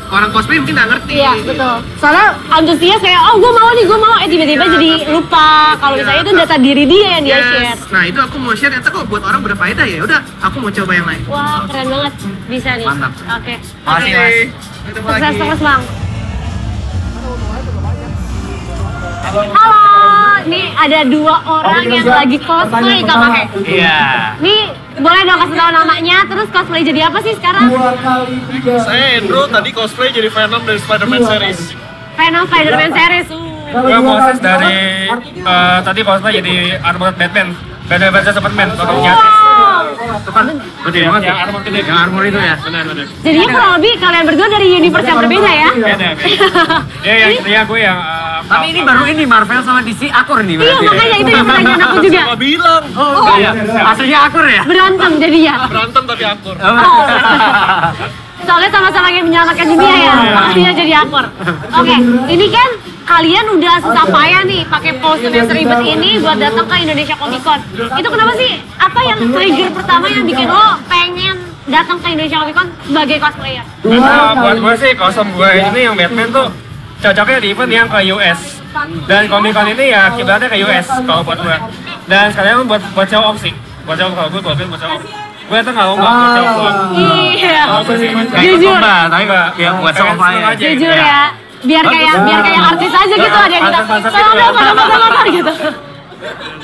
S10: orang cosplay mungkin nggak ngerti
S2: Iya betul. Soalnya antusias kayak oh gue mau nih gue mau eh tiba-tiba jadi lupa kalau misalnya itu data diri dia yang dia
S10: Yes.
S2: share.
S10: Nah itu aku mau share, ternyata kok buat orang berfaedah ya. Udah, aku mau coba yang lain.
S2: Wah keren banget bisa nih.
S3: Mantap.
S2: Oke.
S3: Makasih, Mas.
S10: Ketemu
S2: Sukses
S10: lagi.
S2: terus bang. Halo, ini ada dua orang yang lagi cosplay kak pakai.
S3: Iya.
S2: Nih boleh dong kasih tahu namanya, terus cosplay jadi apa sih sekarang?
S6: Saya Andrew tadi cosplay jadi Venom dari Spider-Man
S2: Iya.
S6: series.
S2: Venom Spider-Man series. Uh.
S4: Gue Moses dari eh, tadi cosplay jadi armored Batman. Batman versus Superman, Tolong Justice.
S3: Gede banget.
S4: Yang armor gede.
S3: Yang armor itu ya.
S2: Jadinya kurang lebih kalian berdua dari universe yang berbeda ya?
S4: Beda, beda. Dia yang ceria, gue yang eh,
S3: Tapi ini baru ini Marvel sama DC akur
S2: Iya
S3: nih berarti.
S2: makanya itu yang pertanyaan aku juga.
S6: bilang
S3: Oh, iya. Aslinya akur ya.
S2: Berantem jadi ya.
S6: berantem tapi akur.
S3: Oh.
S2: Soalnya sama-sama yang menyelamatkan dunia ya. Pastinya jadi aktor. Oke, ini kan kalian udah susah payah nih pakai poster yang seribet ini buat datang ke Indonesia Comic Con. Itu kenapa sih? Apa yang trigger pertama yang bikin lo pengen datang ke Indonesia Comic Con sebagai cosplayer?
S11: Nah, buat gue sih kosong gue ini yang Batman tuh cocoknya di event yang ke US dan Comic Con ini ya kiblatnya ke US kalau buat gue dan sekalian buat buat show off sih buat show off kalau gue buat buat show off gue tuh nggak mau buat buat show off
S2: Iya.
S11: Kalau gue sih,
S2: Jujur.
S11: kayak
S3: Mbak, tapi Mbak, ya buat
S11: pengen
S3: sofa
S11: seneng
S3: ya.
S11: aja.
S12: gitu
S2: Jujur ya. Biar kayak biar kayak artis aja gitu ada yang kita
S11: Artis-artis
S2: salam
S11: gitu ya.
S2: dong, salam dong, salam dong," gitu.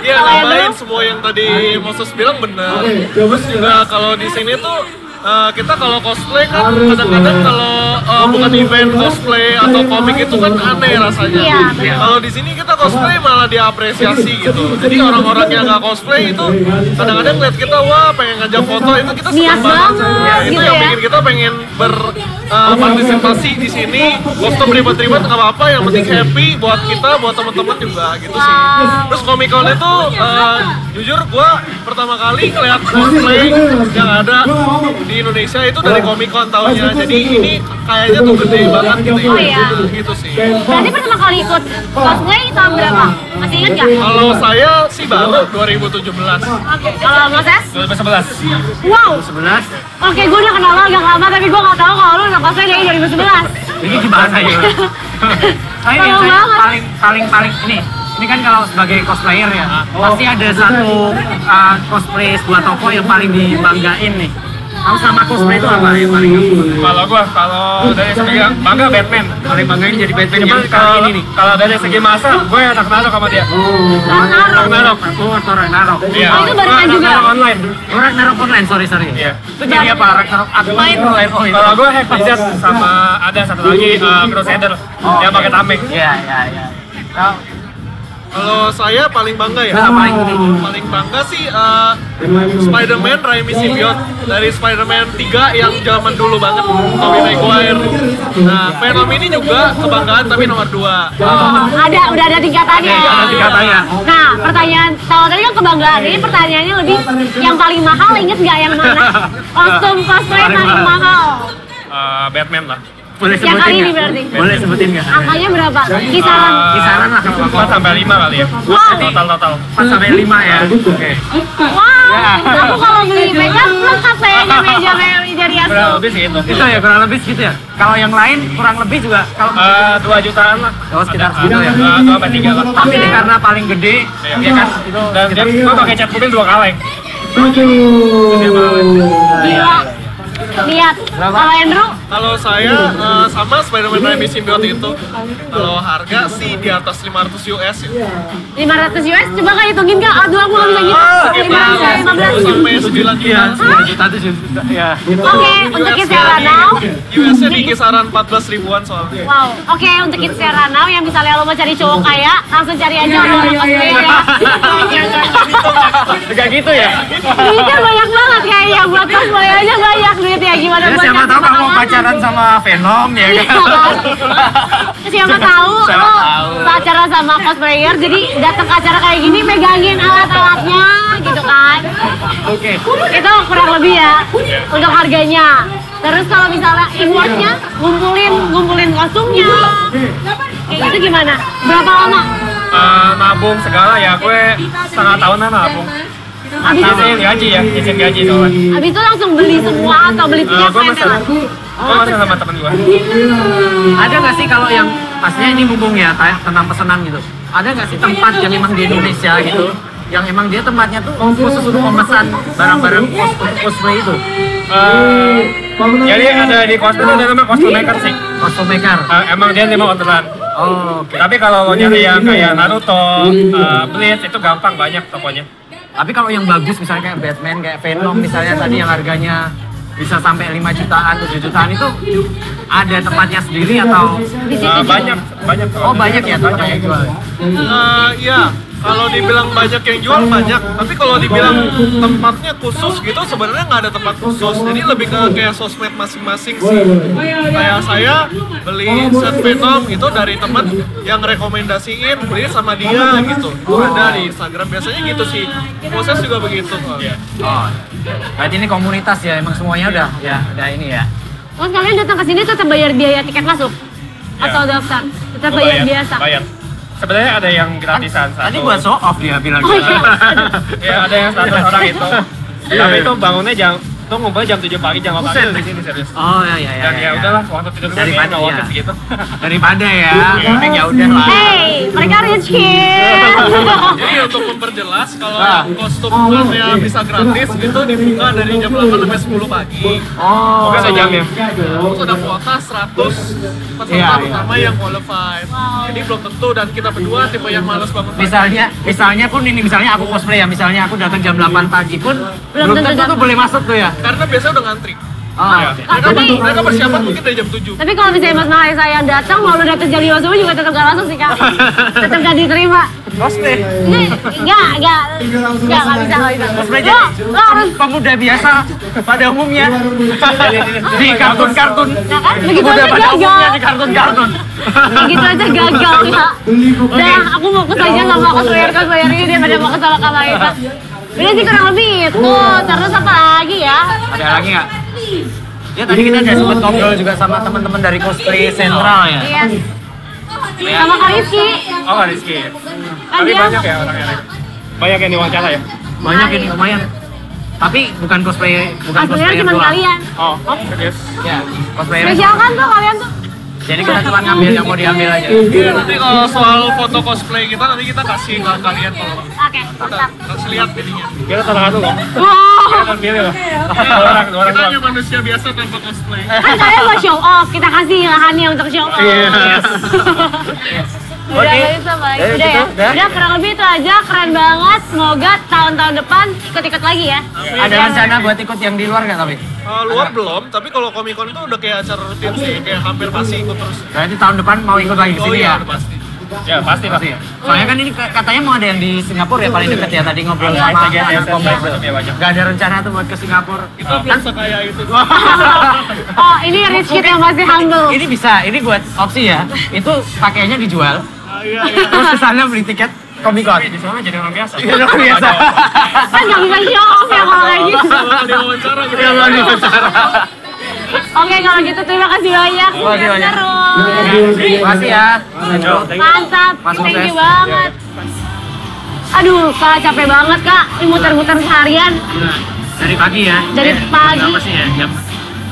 S12: Iya,
S2: Kalau yang
S12: nambahin
S2: dulu-
S12: semua yang tadi Moses bilang benar. Terus juga kalau di sini tuh eh, kita kalau cosplay kan kadang-kadang kalau eh, bukan event cosplay atau komik itu kan aneh rasanya.
S13: Iya, benar.
S12: Kalau di sini kita cosplay malah diapresiasi gitu. Jadi orang-orang yang nggak cosplay itu kadang-kadang lihat kita wah pengen ngajak foto itu kita
S2: Niat
S12: senang banget.
S2: banget,
S12: Ya, itu
S2: gitu
S12: yang
S2: ya.
S12: bikin kita pengen ber eh, partisipasi di sini. Kostum ribet-ribet nggak apa-apa, yang penting happy buat kita, buat teman-teman juga gitu sih. Terus Comic Con itu eh, jujur gua pertama kali ngeliat cosplay yang ada di Indonesia itu dari Comic Con tahunnya. Jadi ini kayaknya tuh gede banget gitu ya.
S2: Oh, iya.
S12: Gitu sih.
S2: Berarti pertama kali ikut cosplay tahun berapa? Masih ingat nggak?
S12: Kalau saya sih baru 2017.
S2: Oke, kalau Moses?
S12: 2011.
S2: Wow. Oke, gue udah kenal lo agak lama tapi gue gak tahu kalau lo udah cosplay dari 2011.
S3: Ini dibahas aja. Tapi
S2: Tolong
S3: biasanya
S2: banget.
S3: paling paling paling ini ini kan kalau sebagai cosplayer ya pasti ada satu uh, cosplay sebuah toko yang paling dibanggain nih. Kamu sama cosplay itu apa yang paling kamu banggain?
S11: Kalau gua kalau dari segi bangga Batman, paling banggain jadi Batman Cuman kalau kalau dari segi masa, gue anak narok sama dia.
S12: Oh,
S11: Anak narok.
S3: Oh, Ragnarok.
S11: Iya.
S3: Oh, itu barengan
S11: Ragnarok
S3: juga.
S11: online.
S3: Oh, Ragnarok online, sorry sorry. Iya. Itu jadi apa? Ragnarok online. online. Oh,
S12: iya.
S3: itu.
S11: Kalau gue Hack Wizard sama ada satu lagi eh, Crusader
S12: Oh.
S11: yang pakai tameng.
S3: Iya iya iya.
S12: Ya. Kalau saya paling bangga ya.
S11: Nah, paling-
S12: Paling bangga sih eh,
S3: Iya.
S12: Spider-Man Raimi Symbiote dari Spider-Man 3 yang zaman dulu banget Tobey Maguire. Nah, Venom ini juga kebanggaan tapi nomor 2.
S2: Oh, ada, udah ada tingkatannya.
S12: Ada, ada tingkatannya.
S2: Nah, pertanyaan kalau tadi kan kebanggaan, ini pertanyaannya lebih yang paling mahal inget nggak yang mana? Kostum cosplay
S11: Paling
S2: paling
S11: mahal.
S2: mahal.
S11: Eh, Batman lah.
S3: Boleh
S2: Yang kali ini berarti.
S3: Boleh sebutin nggak?
S2: Angkanya berapa? Kisaran.
S3: Kisaran lah kalau
S11: 4 Eh, sampai 5 kali ya. Total total.
S3: 4 sampai 5 ya. Oke.
S2: Wah,
S11: Ya.
S2: aku kalau beli makeup lengkap kayaknya meja Mary dari
S11: Kurang
S2: Asu.
S11: lebih sih itu.
S3: Itu ya kurang lebih segitu ya. Kalau yang lain kurang lebih juga kalau
S11: Eh, 2 jutaan lah.
S3: Oh, sekitar
S11: Ada-
S3: segitu
S11: ada
S12: Iya.
S3: ya.
S11: Dua dua sampai tiga lah.
S3: Tapi ini karena paling gede,
S11: Iya iya kan. Dan dia gue pakai cat kuping dua kaleng.
S2: Gila. Lihat, kalau Andrew,
S12: Kalau saya eh, sama Spider-Man Raimi Symbiote itu. Kalau harga sih di atas 500 US ya.
S2: 500 US, coba kan hitungin kak, aduh aku gak bisa gitu
S12: Sekitar 10 sampai 9 juta.
S3: Iya, juta tuh juta. Ya.
S2: Oke, untuk
S12: US-nya
S2: Kisaran Now.
S12: US-nya di kisaran 14 ribuan soalnya.
S2: Wow, oke untuk kids Seranau yang misalnya lo mau cari cowok kaya, langsung cari aja
S12: Iya,
S2: orang
S12: iya,
S2: cosplay
S12: iya,
S2: ya.
S11: Juga gitu ya.
S2: Duitnya kan banyak banget kayaknya, buat cosplay aja banyak duitnya, gimana
S3: Ya,
S2: buat
S3: siapa tahu
S2: ngasih
S3: kamu
S2: pengalaman?
S3: pacaran sama Venom ya
S2: Iya,
S3: kan?
S2: kan? Siapa tahu
S3: Siapa
S2: lo
S3: tahu.
S2: pacaran sama cosplayer, jadi datang ke acara kayak gini megangin alat-alatnya gitu kan.
S3: Oke.
S2: Itu kurang lebih ya untuk harganya. Terus kalau misalnya importnya, ngumpulin ngumpulin kostumnya, kayak gitu gimana? Berapa lama?
S11: Eh, nabung segala ya gue setengah tahunan nabung.
S2: Abis itu,
S11: Tapi gaji ya, izin gaji soalnya.
S2: abis itu langsung beli semua atau beli
S11: Eh,
S2: tiap kan Oh,
S11: gue
S2: pentil?
S11: masih gue masih sama temen gue.
S3: Ada nggak sih kalau yang pastinya ini mumpung ya kayak tentang pesanan gitu. Ada nggak sih tempat yang emang di Indonesia gitu? yang emang dia tempatnya tuh khusus untuk memesan barang-barang cosplay, cosplay itu.
S11: Eh, jadi ada di kostum ada namanya kostum maker sih.
S3: Kostum maker.
S11: Eh, emang dia lima orderan.
S3: Oh, oke.
S11: Tapi kalau mau nyari yang kayak Naruto, eh, Bleach itu gampang banyak tokonya.
S3: Tapi kalau yang bagus misalnya kayak Batman, kayak Venom misalnya tadi yang harganya bisa sampai 5 jutaan, 7 jutaan itu ada tempatnya sendiri atau
S11: Eh, banyak, banyak.
S3: Oh, banyak ya tempat yang jual.
S12: Eh, iya, kalau dibilang banyak yang jual banyak, tapi kalau dibilang tempatnya khusus gitu sebenarnya nggak ada tempat khusus. Jadi lebih ke kayak sosmed masing-masing sih. Kayak saya beli set Venom itu dari teman yang rekomendasiin beli sama dia gitu. Itu ada di Instagram biasanya gitu sih. Proses juga
S3: Iya.
S12: begitu. Pak.
S3: Oh. Berarti ini komunitas ya, emang semuanya udah ya, udah ini ya.
S2: Terus kalian datang ke sini tetap bayar biaya tiket masuk? Atau daftar? Tetap
S4: Oh,
S2: bayar biasa?
S4: Bayar. Sebenarnya ada yang gratisan satu.
S3: Tadi buat show off dia bilang.
S4: Oh, iya. ya ada yang satu
S3: Iya.
S4: orang itu. Tapi itu bangunnya jam itu ngumpul jam 7 pagi jam 8 pagi di sini serius.
S3: Oh iya iya.
S4: Dan ya udahlah waktu tidur gue
S3: Daripada
S4: kayaknya nggak worth it
S3: ya.
S4: gitu.
S3: Daripada ya. Mending ya udah lah.
S2: Hey, mereka rich kid.
S12: Jadi untuk memperjelas kalau
S4: Nah.
S12: kostum plusnya bisa gratis
S3: Iya.
S12: itu dibuka dari jam 8 sampai 10 pagi.
S3: Oh.
S12: Oke,
S4: sejam ya.
S12: Terus ada kuota 100 peserta
S3: Iya, iya.
S12: pertama yang qualified. Jadi belum tentu dan kita berdua tipe yang malas bangun pagi.
S3: Misalnya, misalnya pun ini misalnya aku cosplay ya, misalnya aku datang jam 8 pagi pun belum
S2: tentu
S3: tentu tuh
S2: dapat.
S3: boleh masuk tuh ya.
S12: Karena biasanya udah ngantri.
S3: Oh,
S12: Ya.
S3: oke.
S12: Mereka,
S2: Tapi-
S12: mereka persiapan mungkin dari jam 7.
S2: Tapi kalau misalnya Mas Mahai saya yang datang, mau lu dapet jam 5 subuh juga tetap gak masuk sih kak. Tetap gak diterima.
S3: Cosplay.
S2: Ini enggak, enggak. Enggak, enggak bisa, enggak bisa.
S3: Cosplay
S2: Lo,
S3: jadi
S2: lo harus,
S3: pemuda biasa pada umumnya di kartun-kartun.
S2: nah kan? Begitu
S3: Pemuda
S2: aja
S3: pada umumnya di
S2: gagal.
S3: kartun-kartun.
S2: Begitu gitu aja gagal kak. Udah, aku mau saja sama cosplayer cosplayer ini dia pada mau sama kak Mahesa. Ini sih kurang lebih itu. Terus apa lagi ya?
S3: Ada lagi nggak? Ya tadi kita udah sempat ngobrol juga sama teman-teman dari cosplay sentral ya.
S2: Iya. Sama Kak Rizky.
S4: Oh nggak Rizky. ya?
S2: Kan
S4: Tapi
S2: dia
S4: banyak ya orangnya. Rik? Banyak yang diwawancara ya.
S3: Banyak
S2: Nah,
S3: ini
S2: iya.
S3: lumayan. Tapi bukan cosplay, bukan
S2: Cosplayer
S3: cosplay
S2: cuma kalian.
S4: Oh serius.
S3: Ya, cosplayer.
S2: Spesial kan tuh kalian tuh.
S3: Jadi kita cuma ngambil yang mau diambil aja.
S12: Nanti kalau soal foto cosplay kita nanti kita kasih ke kalian kalau
S2: Oke,
S12: kita
S2: mantap.
S12: kasih lihat videonya.
S4: Kita salah satu loh.
S2: Wow.
S4: Kita pilih loh. Dua orang, dua orang
S12: Kita
S4: doang.
S12: hanya manusia biasa tanpa cosplay.
S2: kan saya mau show off kita kasih lahannya untuk show off
S4: Yes.
S2: Udah
S3: Oke.
S2: baik, sama baik.
S3: Dari
S2: Udah ya.
S3: situ, udah.
S2: Udah kurang lebih itu aja keren banget. Semoga tahun-tahun depan ikut-ikut lagi ya.
S3: Ada rencana buat ikut yang di luar nggak tapi?
S12: Eh, luar belum, tapi kalau Comic Con itu udah kayak acara rutin sih, kayak hampir pasti ikut terus.
S3: Berarti tahun depan mau ikut lagi ke
S12: Oh
S3: sini
S12: iya,
S3: ya?
S12: udah pasti.
S4: Ya pasti pasti.
S3: Soalnya kan ini ke- katanya mau ada yang di Singapura ya paling deket ya tadi ngobrol
S4: Ada
S3: sama
S4: lagi ya,
S3: anak
S4: cosplay
S3: komplek.
S4: ya banyak.
S3: Gak ada rencana tuh buat ke Singapura. Ah, kan?
S12: Kita belum sekaya itu.
S2: Oh, ini rich kid yang masih humble.
S3: Ini bisa, ini buat opsi ya. Itu pakainya dijual,
S12: Ah, Iya, iya.
S3: terus ke sana beli tiket Comic Con.
S4: Di sana jadi orang biasa.
S3: Iya, luar biasa.
S2: Kan nggak bisa show off ya kalau kayak gitu.
S12: Kalau diwawancara gitu.
S2: Oke, kalau gitu terima kasih banyak.
S3: Terima kasih banyak.
S2: Terus.
S3: Makasih ya.
S2: Mantap,
S3: Mas
S2: thank you
S3: Moses.
S2: banget. Aduh, kak capek banget kak, ini muter-muter seharian.
S3: Iya, Dari pagi ya?
S2: Dari
S3: Eh,
S2: pagi.
S3: berapa sih Iya. ya? Jam-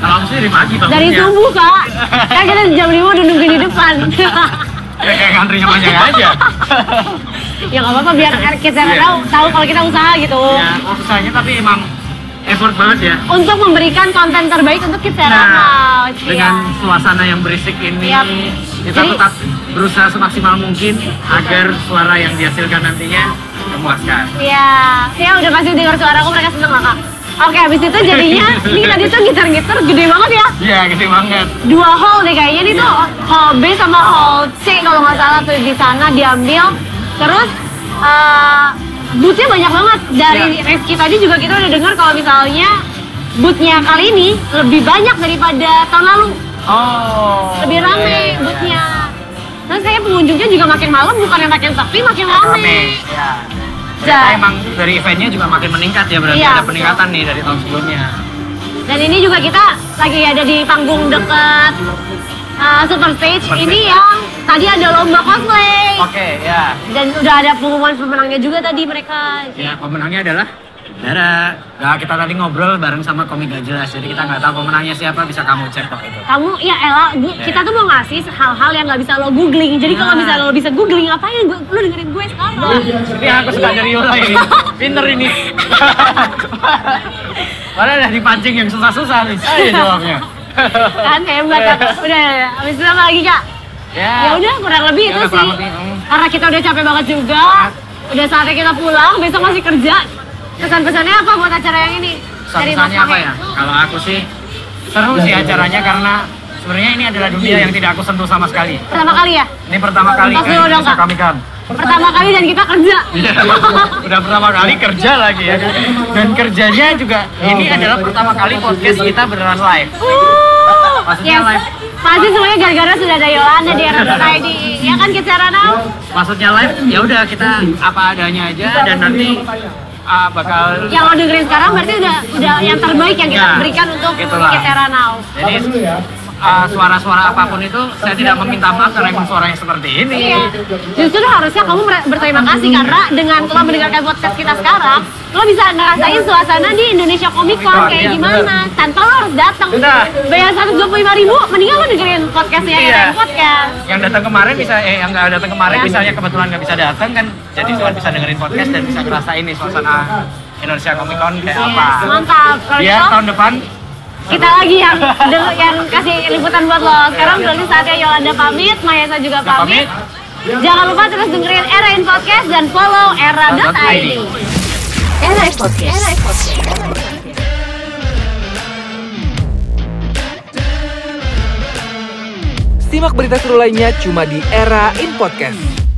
S3: Kalau aku sih dari pagi bangunnya.
S2: Dari subuh kak, kan kita jam 5 udah nungguin di depan.
S3: Ya kayak ngantrinya panjang aja.
S2: ya nggak apa-apa biar
S3: Iya.
S2: kita tahu tahu kalau kita usaha gitu.
S3: ya, usahanya tapi emang effort banget ya.
S2: Untuk memberikan konten terbaik untuk kita. Wow,
S3: Nah, dengan suasana yang berisik ini,
S2: Yap.
S3: kita
S2: Iya. Jadi-
S3: tetap berusaha semaksimal mungkin agar suara yang dihasilkan nantinya memuaskan.
S2: Iya, ya udah pasti dengar suara aku mereka seneng lah kak. Oke, habis itu jadinya, ini tadi tuh gitar-gitar gede banget ya.
S3: Iya, gede banget.
S2: dua hall deh kayaknya nih tuh hall B sama hall C kalau nggak salah tuh di sana diambil terus eh bootnya banyak banget dari Reski tadi juga kita udah dengar kalau misalnya bootnya kali ini lebih banyak daripada tahun lalu
S3: Oh.
S2: lebih rame bootnya terus kayak pengunjungnya juga makin malam bukan yang makin sepi makin rame
S3: Rame. Ya.
S2: Ja.
S3: Ternyata emang dari eventnya juga makin meningkat ya berarti
S2: Iya.
S3: ada peningkatan nih dari tahun sebelumnya.
S2: dan ini juga kita lagi ada di panggung dekat eh, Super Stage Oh, ini yang tadi ada lomba cosplay
S3: Oke, ya.
S2: Dan udah ada pengumuman pemenangnya juga tadi mereka.
S3: Ya, pemenangnya adalah Dara. Nah, kita tadi ngobrol bareng sama komik gak jelas, jadi kita nggak tahu pemenangnya siapa, bisa kamu cek kok itu.
S2: Kamu ya Ella, gu-
S3: Iya.
S2: kita tuh mau ngasih hal-hal yang nggak bisa lo googling. Jadi
S3: Nah.
S2: kalau misalnya lo bisa googling apa ya, gue, lo dengerin gue sekarang.
S3: Ini yang aku suka dari Yola ini, pinter ini. Padahal udah dipancing yang susah-susah nih, saya jawabnya.
S2: kan hebat ya.
S3: Iya.
S2: Udah, ya. abis itu apa lagi kak?
S3: Ya,
S2: Ya udah kurang lebih
S3: Ya
S2: itu
S3: udah,
S2: sih.
S3: kurang lebih, hmm.
S2: Karena kita udah capek banget juga. Udah saatnya kita pulang. Besok masih kerja. Kesan-pesannya apa buat acara yang ini? Dari Mas
S3: pesannya apa
S2: Mahe.
S3: ya? Kalau aku sih seru sih acaranya karena sebenarnya ini adalah dunia yang tidak aku sentuh sama sekali.
S2: Pertama kali ya?
S3: Ini pertama kali
S2: Tos dulu dong,
S3: bisa
S2: Kak.
S3: kami kan.
S2: Pertama kali dan kita kerja.
S3: Iya. udah pertama kali kerja lagi ya kan? dan kerjanya juga ini
S2: Oh,
S3: adalah pertama kali podcast kita beneran live
S2: Uh,
S3: Maksudnya Iya.
S2: yes.
S3: live.
S2: Pasti semuanya gara-gara sudah ada Yolanda di era Society. Ya kan, Kicara Now?
S3: maksudnya live ya udah kita apa adanya aja dan nanti
S4: ah, bakal
S2: Yang lo dengerin sekarang berarti udah udah yang terbaik yang kita
S3: Ya,
S2: berikan untuk
S3: gitulah.
S2: Ketera Now.
S3: Jadi uh, suara-suara apapun itu saya tidak meminta maaf karena emang suaranya seperti ini.
S2: Iya. Justru harusnya kamu mer- berterima kasih karena dengan lo mendengarkan podcast kita sekarang, lo bisa ngerasain suasana di Indonesia Comic Con kayak
S3: Iya,
S2: gimana tanpa lo harus datang.
S3: Benar.
S2: Bayar 125 ribu, mendingan lo dengerin podcastnya
S3: Iya.
S2: Ketera Podcast.
S3: Yang datang kemarin bisa eh yang nggak datang kemarin
S2: Iya.
S3: misalnya kebetulan nggak bisa datang kan jadi cuma bisa dengerin podcast dan bisa ngerasain nih suasana Indonesia Comic Con kayak Iya, apa. Iya.
S2: Yes, Iya. mantap. Kalau
S3: Biar
S2: gitu,
S3: tahun depan
S2: kita lagi yang deng- yang kasih liputan buat lo. Sekarang berarti saatnya Yolanda pamit, Mahesa juga pamit.
S3: pamit.
S2: Jangan lupa terus dengerin Era In Podcast dan follow era.id.
S14: Era in Podcast.
S15: Simak berita seru lainnya cuma di Era In Podcast.